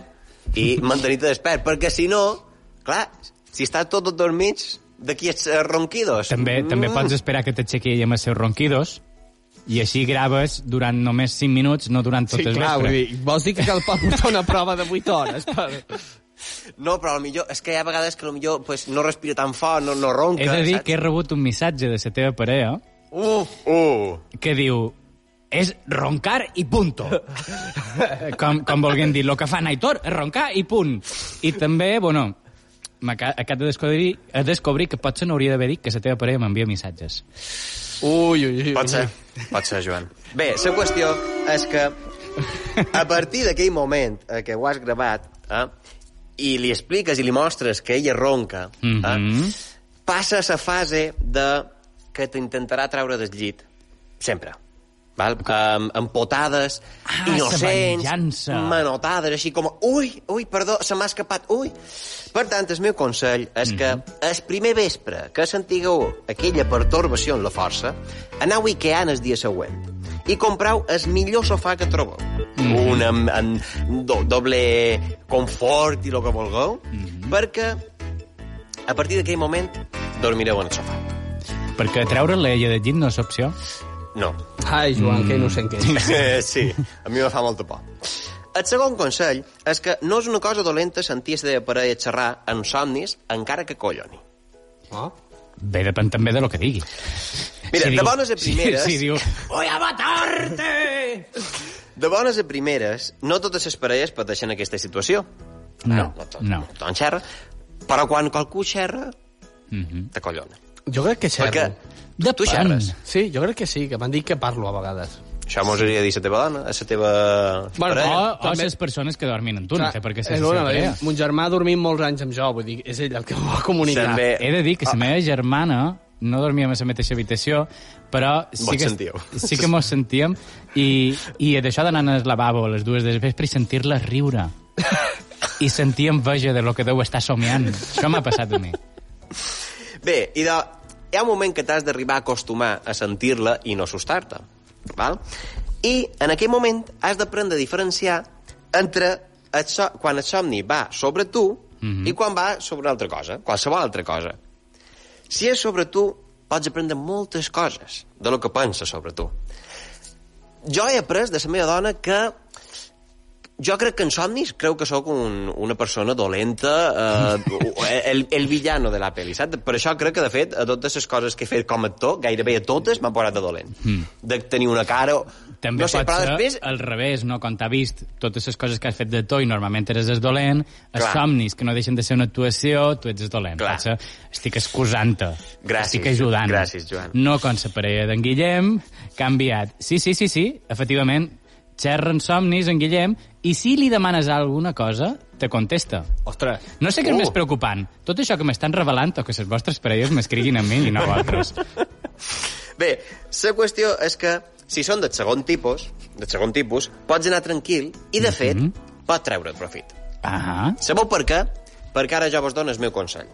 i mantenir-te despert, perquè si no, clar, si estàs tot tot dormits, d'aquí ets eh, ronquidos.
També,
Mm.
també pots esperar que t'aixequi ella amb els seus ronquidos i així graves durant només 5 minuts, no durant tot
Sí,
el
clar, vull
vespre.
dir, vols dir que cal portar una prova de 8 hores? Per...
No, però millor és que hi ha vegades que potser pues, no respira tan fort, no, no ronca.
He de dir
saps?
que he rebut un missatge de la teva parella
Uf, uh.
que diu és roncar i punto. com, com vulguem dir, lo que fa Naitor és roncar i punt. I també, bueno, m'aca- acabo de descobrir, de descobrir que potser no hauria d'haver dit que la teva parella m'envia missatges.
Ui, ui, ui.
Pot ser, pot ser, Joan. Bé, la qüestió és que a partir d'aquell moment eh, que ho has gravat eh, i li expliques i li mostres que ella ronca, mm
Mhm.
-hmm. eh, passa a la fase de que t'intentarà treure del llit, sempre. Val? Um, empotades,
Ah,
innocents,
sa venjança.
manotades, així com... Ui, ui, perdó, se m'ha escapat, ui. Per tant, el meu consell és mm
Mhm.
-hmm. que el primer vespre que sentigueu aquella pertorbació en la força, aneu a Ikea el dia següent i comprau el millor sofà que trobeu.
Mhm.
Mm -hmm. Un amb, amb do, doble confort i el que vulgueu, mm
Mhm.
-hmm. perquè a partir d'aquell moment dormireu en el sofà.
Perquè treure-la ella de llit no és opció.
No.
Ai, Joan, que innocent que ets.
Eh, sí, a mi me fa molta por. El segon consell és que no és una cosa dolenta sentir la teva parella xerrar en somnis, encara que colloni. Mm.
Oh?
Bé, depèn també de lo que digui.
Mira, de
diu-
bones a primeres-
Si, si diu, "Oh,
De bones a primeres, no totes les parelles pateixen aquesta situació.
no,
no, tot,
no.
tothom xerra, però quan qualcú xerra,
Mm -hmm.
te collona.
Jo crec que xerro.
Perquè
Depèn.
tu xerres.
Sí, jo crec que sí, que m'han dit que parlo a vegades.
Això m'ho hauria de dir a la teva dona, a la teva...
Bueno,
O,
parella.
o
també-
les oh, persones que dormin en túnel, eh, perquè
Eh,
se
Lola,
no,
Mon germà ha dormit molts anys amb jo, vull dir, és ell el que m'ho ha comunicat.
També-
Ah, He de dir que la meva germana no dormíem a la mateixa habitació, però sí
Vos
que,
sentíeu.
sí que mos sentíem i, i d'això d'anar al lavabo a les dues del vespre i sentir-la riure. I sentir enveja de lo que deu estar somiant. Això m'ha passat a mi.
Bé, i de... hi ha un moment que t'has d'arribar a acostumar a sentir-la i no assustar-te. Val? I en aquell moment has d'aprendre a diferenciar entre el so quan el somni va sobre tu mm -hmm. i quan va sobre una altra cosa, qualsevol altra cosa. Si és sobre tu, pots aprendre moltes coses de lo que pensa sobre tu. Jo he après de la meva dona que jo crec que en somnis creu que sóc un, una persona dolenta, eh, el, el villano de la pel·li, saps? Per això crec que, de fet, a totes les coses que he fet com a actor, gairebé a totes m'han posat de dolent. Mm. De tenir una cara... o-
Hmm. També
no sé,
pot
però
ser
després...
al revés, no? Quan t'ha vist totes les coses que has fet de to i normalment eres el dolent, els
Clar.
somnis que no deixen de ser una actuació, tu ets el dolent.
Clar.
Potser estic excusant-te.
Gràcies,
Estic ajudant.
gràcies, Joan.
No com la parella d'en Guillem, que ha enviat... Sí, sí, sí, sí, efectivament, Xerren somnis en Guillem i si li demanes alguna cosa, te contesta.
Ostres.
No sé què és
Uh.
més preocupant, tot això que m'estan revelant o que les vostres parelles m'escriguin a mi i no a altres.
Bé, la qüestió és que si són del segon tipus, del segon tipus, pots anar tranquil i,
Mhm.
de fet, mm -hmm. pot treure't profit.
Ah,
Sabeu per què? Perquè ara jo vos dono el meu consell.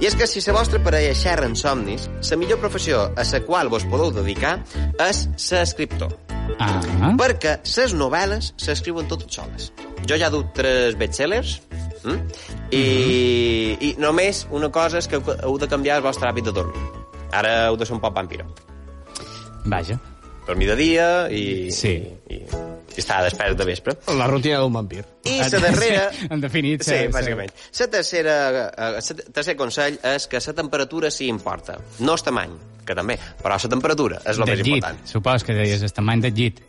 I és que si la vostra parella xerra en somnis, la millor professió a la qual vos podeu dedicar és ser escriptor.
ah,
Perquè ses novel·les s'escriuen totes soles. Jo ja duc tres bestsellers mm? I, i només una cosa és que heu de canviar el vostre hàbit de dormir. Ara heu de ser un poc vampiro.
vaja.
Dormir de dia i,
Sí.
i, i estar despert de vespre.
La rutina d'un vampir.
I la darrera...
En definit,
Sí, bàsicament. La tercera, eh, sa- tercer consell és que la temperatura sí importa. No el tamany, que també, però la temperatura és el
De
més
llit.
important.
Supos que deies el tamany de llit.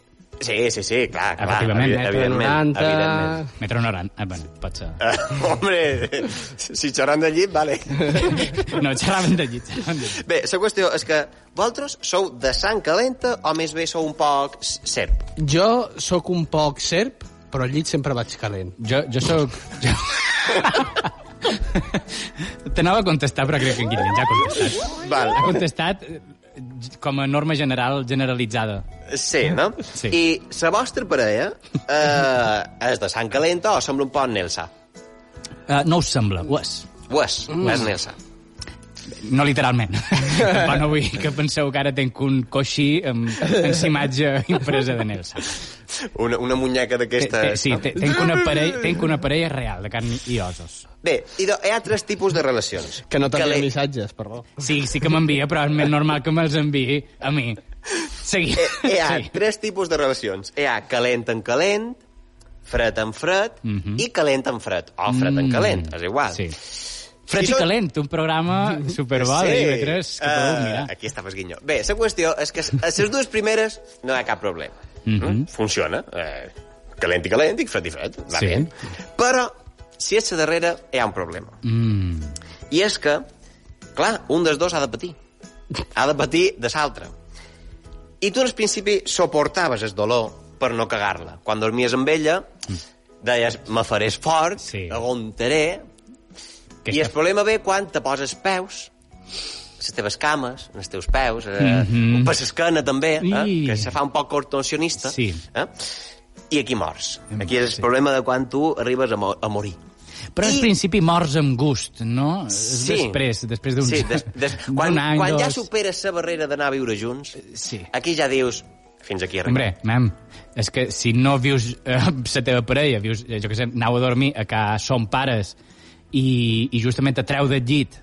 Sí, sí, sí, clar, clar.
Efectivament,
evi-
eh,
evidentment,
90.
evidentment.
Metro 90. Ah, bueno, pot ser.
Eh, hombre, si xerran de llit, vale.
No, xerraven de llit, xerraven de llit.
Bé, la qüestió és que vosaltres sou de sang calenta o més bé sou un poc s- serp.
Jo sóc un poc serp, però al llit sempre vaig calent.
Jo, jo sóc... Jo... T'anava a contestar, però crec que en Guillem ja ha contestat.
Val.
Ha contestat eh, com a norma general, generalitzada.
Sí, no?
Sí.
I la vostra parella eh, és de sang calenta o sembla un poc Nelsa?
Uh, no us sembla, ho és.
Ho és,
Mm.
ho és Nelsa.
No literalment. Però no vull que penseu que ara tenc un coixí amb, amb imatge impresa de Nelson.
Una, una muñeca
Té- té-
d'aquestes.
Eh, Sí, té- tenc una, parella, tenc una parella real de carn i ossos.
Bé, i do, hi ha tres tipus de relacions.
Que no t'envien
Calent-
missatges, perdó.
Sí, sí que m'envia, però és més normal que me'ls enviï a mi. Segui.
Hi ha
Sí.
tres tipus de relacions. Hi ha calent en calent, fred en fred i calent en fred. O fred en calent, és igual.
Mhm. Mm. Sí. Fred
Si
i
són-
Calent, un programa superbo de IB3 que podeu
Eh,
mirar.
Aquí estava esguinyó. Bé, la qüestió és que a les dues primeres no hi ha cap problema. Mm
Mhm.
-hmm. Funciona. Eh, calent i calent i fred i fred. Va
Sí.
sí. bé. Però, si és la darrera, hi ha un problema.
Mm.
I és que, clar, un dels dos ha de patir. Ha de patir de l'altre. I tu, al principi, soportaves el dolor per no cagar-la. Quan dormies amb ella, deies, me faré fort,
Mm. Sí.
sí. aguantaré,
Que
i el
està-
problema ve quan te poses peus, les teves cames, els teus peus, eh,
Mhm.
mm -hmm. per l'esquena també, eh,
Ii.
que se fa un poc contorsionista,
Sí.
eh, i aquí mors.
Em-
Aquí és
sí.
el problema de quan tu arribes a, mo a morir.
Però al
I-
principi mors amb gust, no? És
Sí.
Després, després d'un
Sí, des, des,
d'un
quan,
any,
quan ja
dos.
superes la barrera d'anar a viure junts,
Eh, Sí.
aquí ja dius, fins aquí arriba.
Hombre, mem, és que si no vius eh, amb la teva parella, vius, eh, jo què sé, anau a dormir a ca son pares i, i justament et treu del llit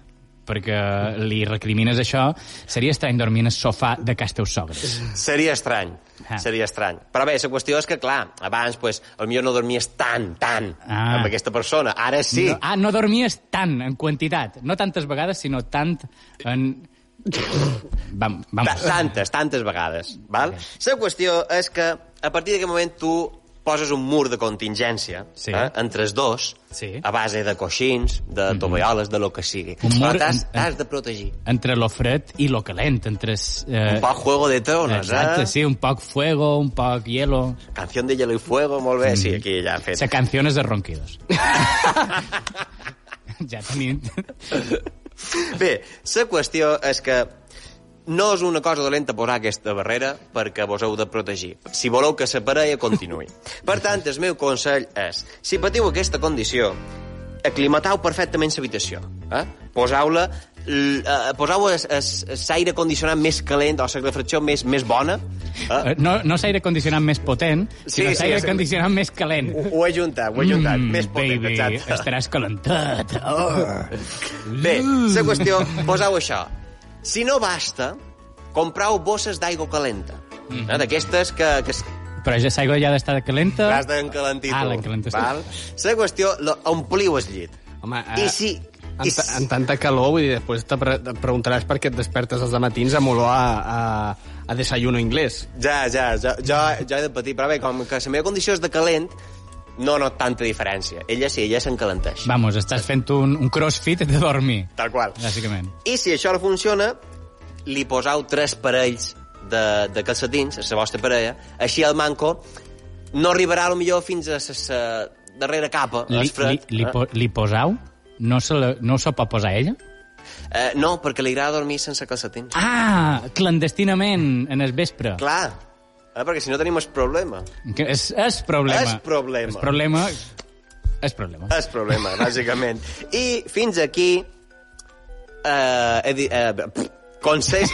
perquè li recrimines això, seria estrany dormir en el sofà de cas teus sogres.
Seria estrany,
Ah.
seria estrany. Però bé, la qüestió és que, clar, abans, pues, potser no dormies tant, tant,
Ah.
ah. amb aquesta persona. Ara sí.
No, ah, no dormies tant, en quantitat. No tantes vegades, sinó tant en... Vam,
Ta-
vamos.
Tantes, tantes vegades. Val? La qüestió és que a partir d'aquest moment tu poses un mur de contingència
Sí.
eh, entre els dos
Sí. Mhm.
a base de coixins, de tovalloles, de lo que sigui.
Un mur
Però t'has
en- en-
t'has de protegir.
Entre lo fred i lo calent, entre... es, Eh,
Un poc Juego de Tronos,
Exacte,
eh?
sí, un poc fuego, un poc hielo...
Canción de Hielo y Fuego, molt bé.
Mhm.
Sí, aquí ja ha fet.
Se canciones de ronquidos. ja tenim...
Bé, la qüestió és que no és una cosa dolenta posar aquesta barrera perquè vos heu de protegir, si voleu que la parella continuï. Per tant, el meu consell és, si patiu aquesta condició, aclimatau perfectament l'habitació. Eh? Poseu-la l- eh, poseu l'aire condicionat més calent o la refracció més, més bona eh?
Eh, No, no s'aire condicionat més potent, sinó
sí,
s'aire
sí.
condicionat més calent.
ho, ho he juntat, ho he juntat mm, més potent,
baby,
exacte.
estaràs calentat. Oh.
Bé, la qüestió, poseu això. Si no basta, comprau bosses d'aigua calenta. Mm -hmm. D'aquestes que, que s-
Però ja l'aigua ja ha d'estar calenta.
l'has d'encalentir tu.
Ah, l'encalentis tu.
val? La qüestió, lo- ompliu el llit.
Home,
I si...
En,
I
ta, en
si
tanta calor, vull dir, després te, pre te preguntaràs per què et despertes els matins amb olor a, a, a desayuno inglès.
ja, ja, ja, jo, jo he de patir, però bé, com que la meva condició és de calent, no no tanta diferència. Ella sí, ella s'encalenteix.
Vamos, estàs fent un, un crossfit de dormir,
Tal qual.
bàsicament.
I si això no funciona, li posau tres parells de, de calcetins a la vostra parella, així el manco no arribarà millor fins a la darrera capa. eh?
Li,
és fred. Ah.
li, li, po- li posau? No se, la, no se pot posar ella?
Eh, no, perquè li agrada dormir sense calcetins. Ah.
Ah, clandestinament, en el vespre.
Clar, eh, perquè si no tenim el problema.
Que és, és problema.
És problema.
És problema. És problema.
És problema, bàsicament. I fins aquí... Eh, he dit, eh, pff, consells...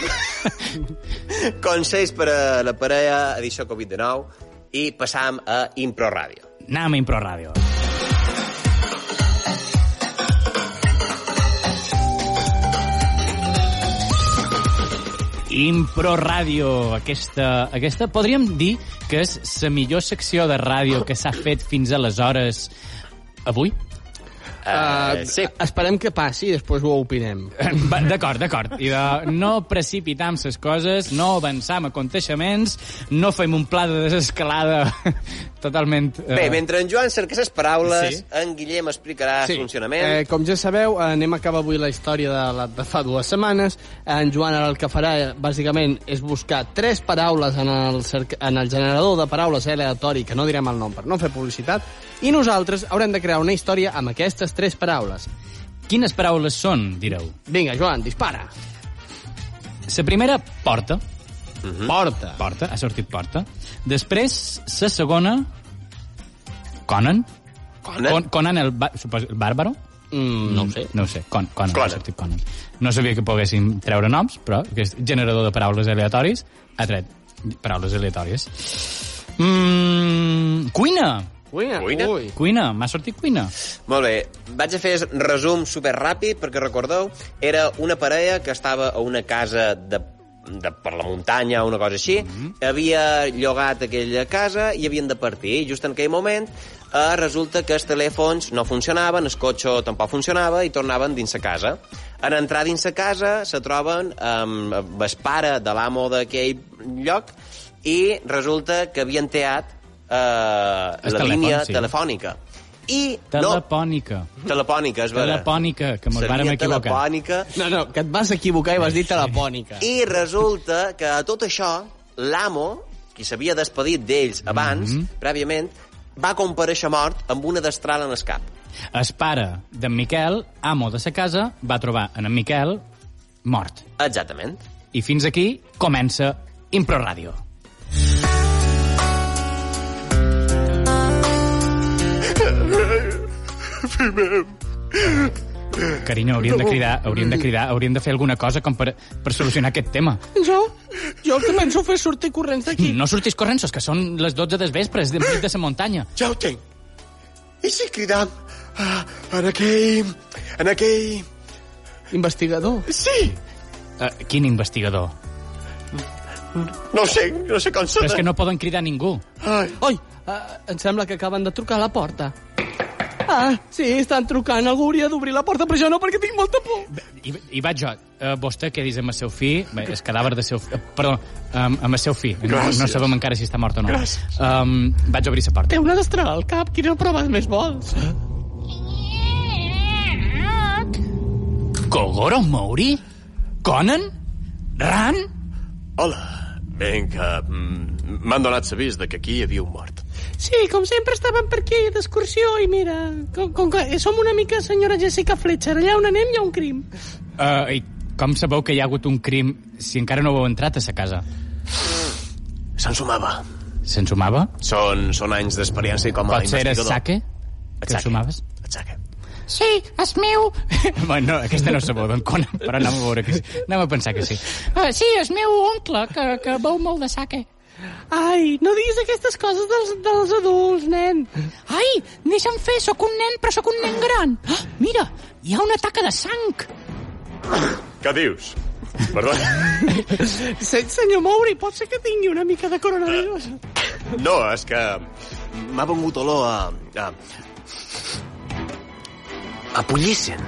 consells per a la parella, edició Covid-19, i passam a Impro Ràdio.
Anem a Impro Ràdio. Impro Ràdio, aquesta, aquesta podríem dir que és la millor secció de ràdio que s'ha fet fins aleshores avui.
Ah,
Eh, sí.
Esperem que passi i després ho opinem.
Va, D'acord, d'acord. I de no precipitam les coses, no avançam aconteixements, no fem un pla de desescalada totalment... eh,
Bé, mentre en Joan cerca les paraules,
Sí.
sí. en Guillem explicarà sí. funcionament.
Eh,
Eh,
com ja sabeu, anem a acabar avui la història de, la, de fa dues setmanes. En Joan ara el que farà, eh, bàsicament, és buscar tres paraules en el, cerc- en el generador de paraules aleatori, que no direm el nom per no fer publicitat, i nosaltres haurem de crear una història amb aquestes tres paraules.
Quines paraules són, direu?
Vinga, Joan, dispara.
La primera, porta.
Mhm.
Porta.
Porta, ha sortit porta. Després, la segona, Conan.
Conan?
Con- Conan el, ba- supos- el bàrbaro?
Mm, no ho sé.
No ho sé, Con Conan,
Conan.
ha sortit Conan. No sabia que poguéssim treure noms, però aquest generador de paraules aleatoris ha tret paraules aleatòries. Mm, cuina!
Cuina.
Cuina?
Ui.
Cuina, m'ha sortit cuina.
Molt bé, vaig a fer el resum superràpid, perquè recordeu, era una parella que estava a una casa de, de per la muntanya o una cosa així, mm -hmm. havia llogat aquella casa i havien de partir. I just en aquell moment eh, resulta que els telèfons no funcionaven, el cotxe tampoc funcionava i tornaven dins la casa. En entrar dins la casa se troben amb el pare de l'amo d'aquell lloc i resulta que havien teat eh,
El
la
telèfon,
línia
sí.
telefònica. I no,
Telepònica.
Telepònica, és vera.
Telepònica, que mos
Seria
vàrem equivocar.
Telepònica.
No, no, que et vas equivocar i vas dir telepònica.
I resulta que a tot això, l'amo, qui s'havia despedit d'ells abans, mm -hmm. prèviament, va compareixer mort amb una destral en el cap.
El pare d'en Miquel, amo de sa casa, va trobar en en Miquel mort.
Exactament.
I fins aquí comença Impro Ràdio. Carinyo, hauríem de cridar, hauríem de cridar, hauríem de fer alguna cosa com per, per solucionar aquest tema.
Jo, jo el que penso fer és sortir corrents d'aquí.
No sortis corrents, que són les 12 des vespres, de de sa muntanya.
Ja ho tinc. I si cridam ah, en aquell... en aquell...
Investigador.
Sí!
Uh, quin investigador.
No sé, no sé com
Però és
sona.
que no poden cridar ningú.
Ai,
Oi, eh, em sembla que acaben de trucar a la porta. Ah, sí, estan trucant. Algú hauria d'obrir la porta, però jo no, perquè tinc molta por.
I, i vaig jo. Uh, vostè què dius amb el seu fill? Bé, el cadàver de seu fill... Uh, perdó, um, amb el seu fill. No, no
Gràcies.
sabem encara si està mort o no. Um, vaig obrir la
Té
porta.
una destral al cap. Quines proves més vols?
Kogoro Mori? Conan? Ran?
hola. Vinga, mm, m'han donat l'avís de que aquí hi havia un mort.
Sí, com sempre estàvem per aquí d'excursió i mira, com, com que eh, som una mica senyora Jessica Fletcher, allà on anem hi ha un crim.
Uh, I com sabeu que hi ha hagut un crim si encara no heu entrat a sa casa?
Se'n sumava.
Se'n sumava?
Són, són anys d'experiència com a
Potser era
Ah, investigador.
sake? Que
Sake.
sumaves?
El saque.
Sí, és meu.
bueno, no, aquesta no sabeu d'on Conan, però anem a veure que sí. Anem a pensar que sí.
Eh, sí, és meu oncle, que, que beu molt de sake.
Ai, no diguis aquestes coses dels, dels adults, nen.
Ai, deixa'm fer, sóc un nen, però sóc un nen gran. Ah, mira, hi ha una taca de sang.
Què dius? Perdó?
Se, senyor Mowry, pot ser que tingui una mica de coronavirus.
No, és que m'ha vengut olor a... a... a pollissen.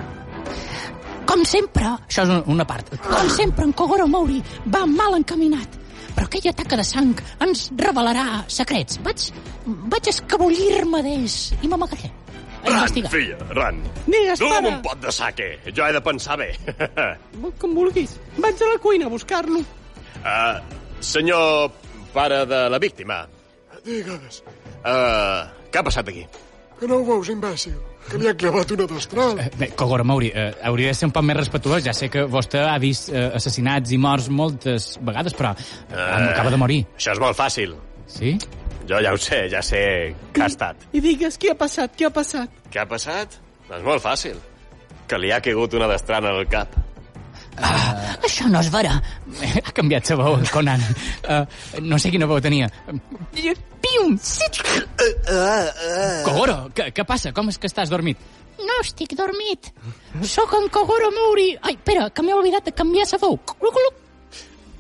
Com sempre,
Això és un- una part.
com sempre, en Kogoro Mori va mal encaminat. Però aquella taca de sang ens revelarà secrets. Vaig, vaig escabullir-me d'ells i m'amagaré. A
Ran,
investigar.
filla, ran.
Digues,
Dugue'm
pare.
un pot de saque. Jo he de pensar bé.
Com vulguis. Vaig a la cuina a buscar-lo.
Ah, Uh, senyor pare de la víctima. Digues.
Uh, què ha passat aquí?
Que no ho veus, imbècil? Que li ha clavat una destral.
Bé, Kogoro Mauri, eh, hauria de ser un poc més respectuós. Ja sé que vostè ha vist eh, assassinats i morts moltes vegades, però eh, acaba de morir.
Això és molt fàcil.
Sí?
Jo ja ho sé, ja sé què ha estat.
I digues, què ha passat, què ha passat?
Què ha passat? Doncs molt fàcil. Que li ha caigut una destrana al cap.
Això no és vera.
Ha canviat sa veu, en Conan. Uh, no sé quina veu tenia.
Pium!
Kogoro, què, què passa? Com és que estàs dormit?
No estic dormit. Sóc en Kogoro Mori. Ai, espera, que m'he oblidat de canviar sa veu. Cluc, cluc.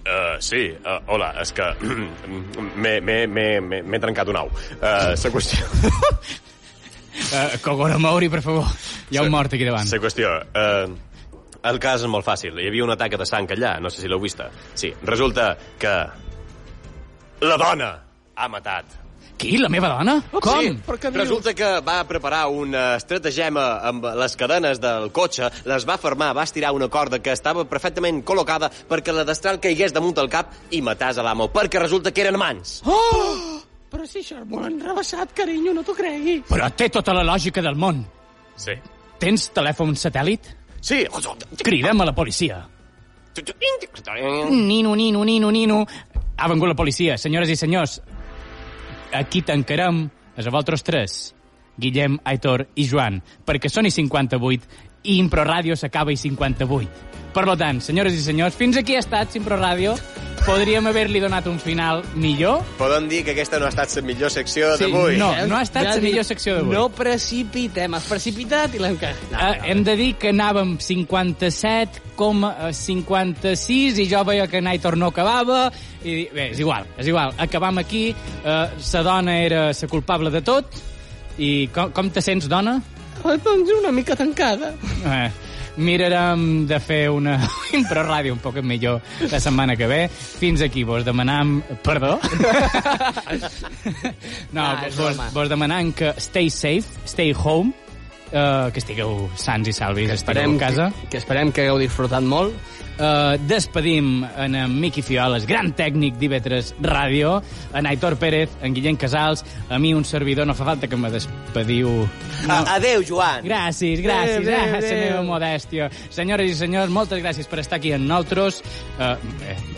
Uh, sí, uh, hola, és que m'he- m'he- m'he m'he- m'he trencat un au. Uh, la qüestió...
Uh, Kogoro Mauri, per favor. Hi ha un mort aquí davant.
La qüestió... Uh, el cas és molt fàcil. Hi havia una taca de sang allà, no sé si l'heu vista. Sí, resulta que... La dona ha matat
Qui? La meva dona? Com?
Sí, resulta que va preparar una estratagema amb les cadenes del cotxe, les va fermar, va estirar una corda que estava perfectament col·locada perquè la destral caigués damunt del cap i matàs a l'amo, perquè resulta que eren mans.
Oh! Però si això és molt enrebaçat, carinyo, no t'ho creguis.
Però té tota la lògica del món.
Sí.
Tens telèfon satèl·lit?
Sí.
Cridem a la policia. Nino, nino, nino, nino. Ha vengut la policia, senyores i senyors. Aquí tancarem els vosaltres tres, Guillem, Aitor i Joan, perquè són i 58 i Impro Ràdio s'acaba i 58. Per lo tant, senyores i senyors, fins aquí ha estat Impro Ràdio. Podríem haver-li donat un final millor.
Podem dir que aquesta no ha estat la millor secció
Sí,
d'avui.
no. ha estat la
dic,
millor secció d'avui.
No precipitem, has precipitat i l'hem cagat.
No, Eh, hem de dir que anàvem 57,56 i jo veia que Naitor no acabava i bé, és igual, és igual, acabam aquí eh, sa dona era sa culpable de tot i com, com te sents, dona?
Ah, doncs una mica tancada.
Eh, mirarem de fer una impro ràdio un poc millor la setmana que ve. Fins aquí vos demanam... Perdó? no,
Ah, és
vos,
broma.
vos demanam que stay safe, stay home, eh, que estigueu sants i salvis, estigueu a casa.
Que, que esperem que hagueu disfrutat molt.
Eh, despedim en, en Miqui Fioles, gran tècnic d'IV3 Ràdio, en Aitor Pérez, en Guillem Casals, a mi un servidor, no fa falta que me despediu. No.
A- Adéu, Joan.
Gràcies,
Adéu,
gràcies,
adéu,
ah, la
adéu.
meva modèstia. Senyores i senyors, moltes gràcies per estar aquí amb nosaltres, eh,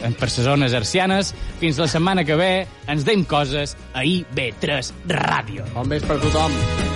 eh, per ses zones arcianes. Fins la setmana que ve, ens deim coses a IB3 Ràdio.
Bon vespre a tothom.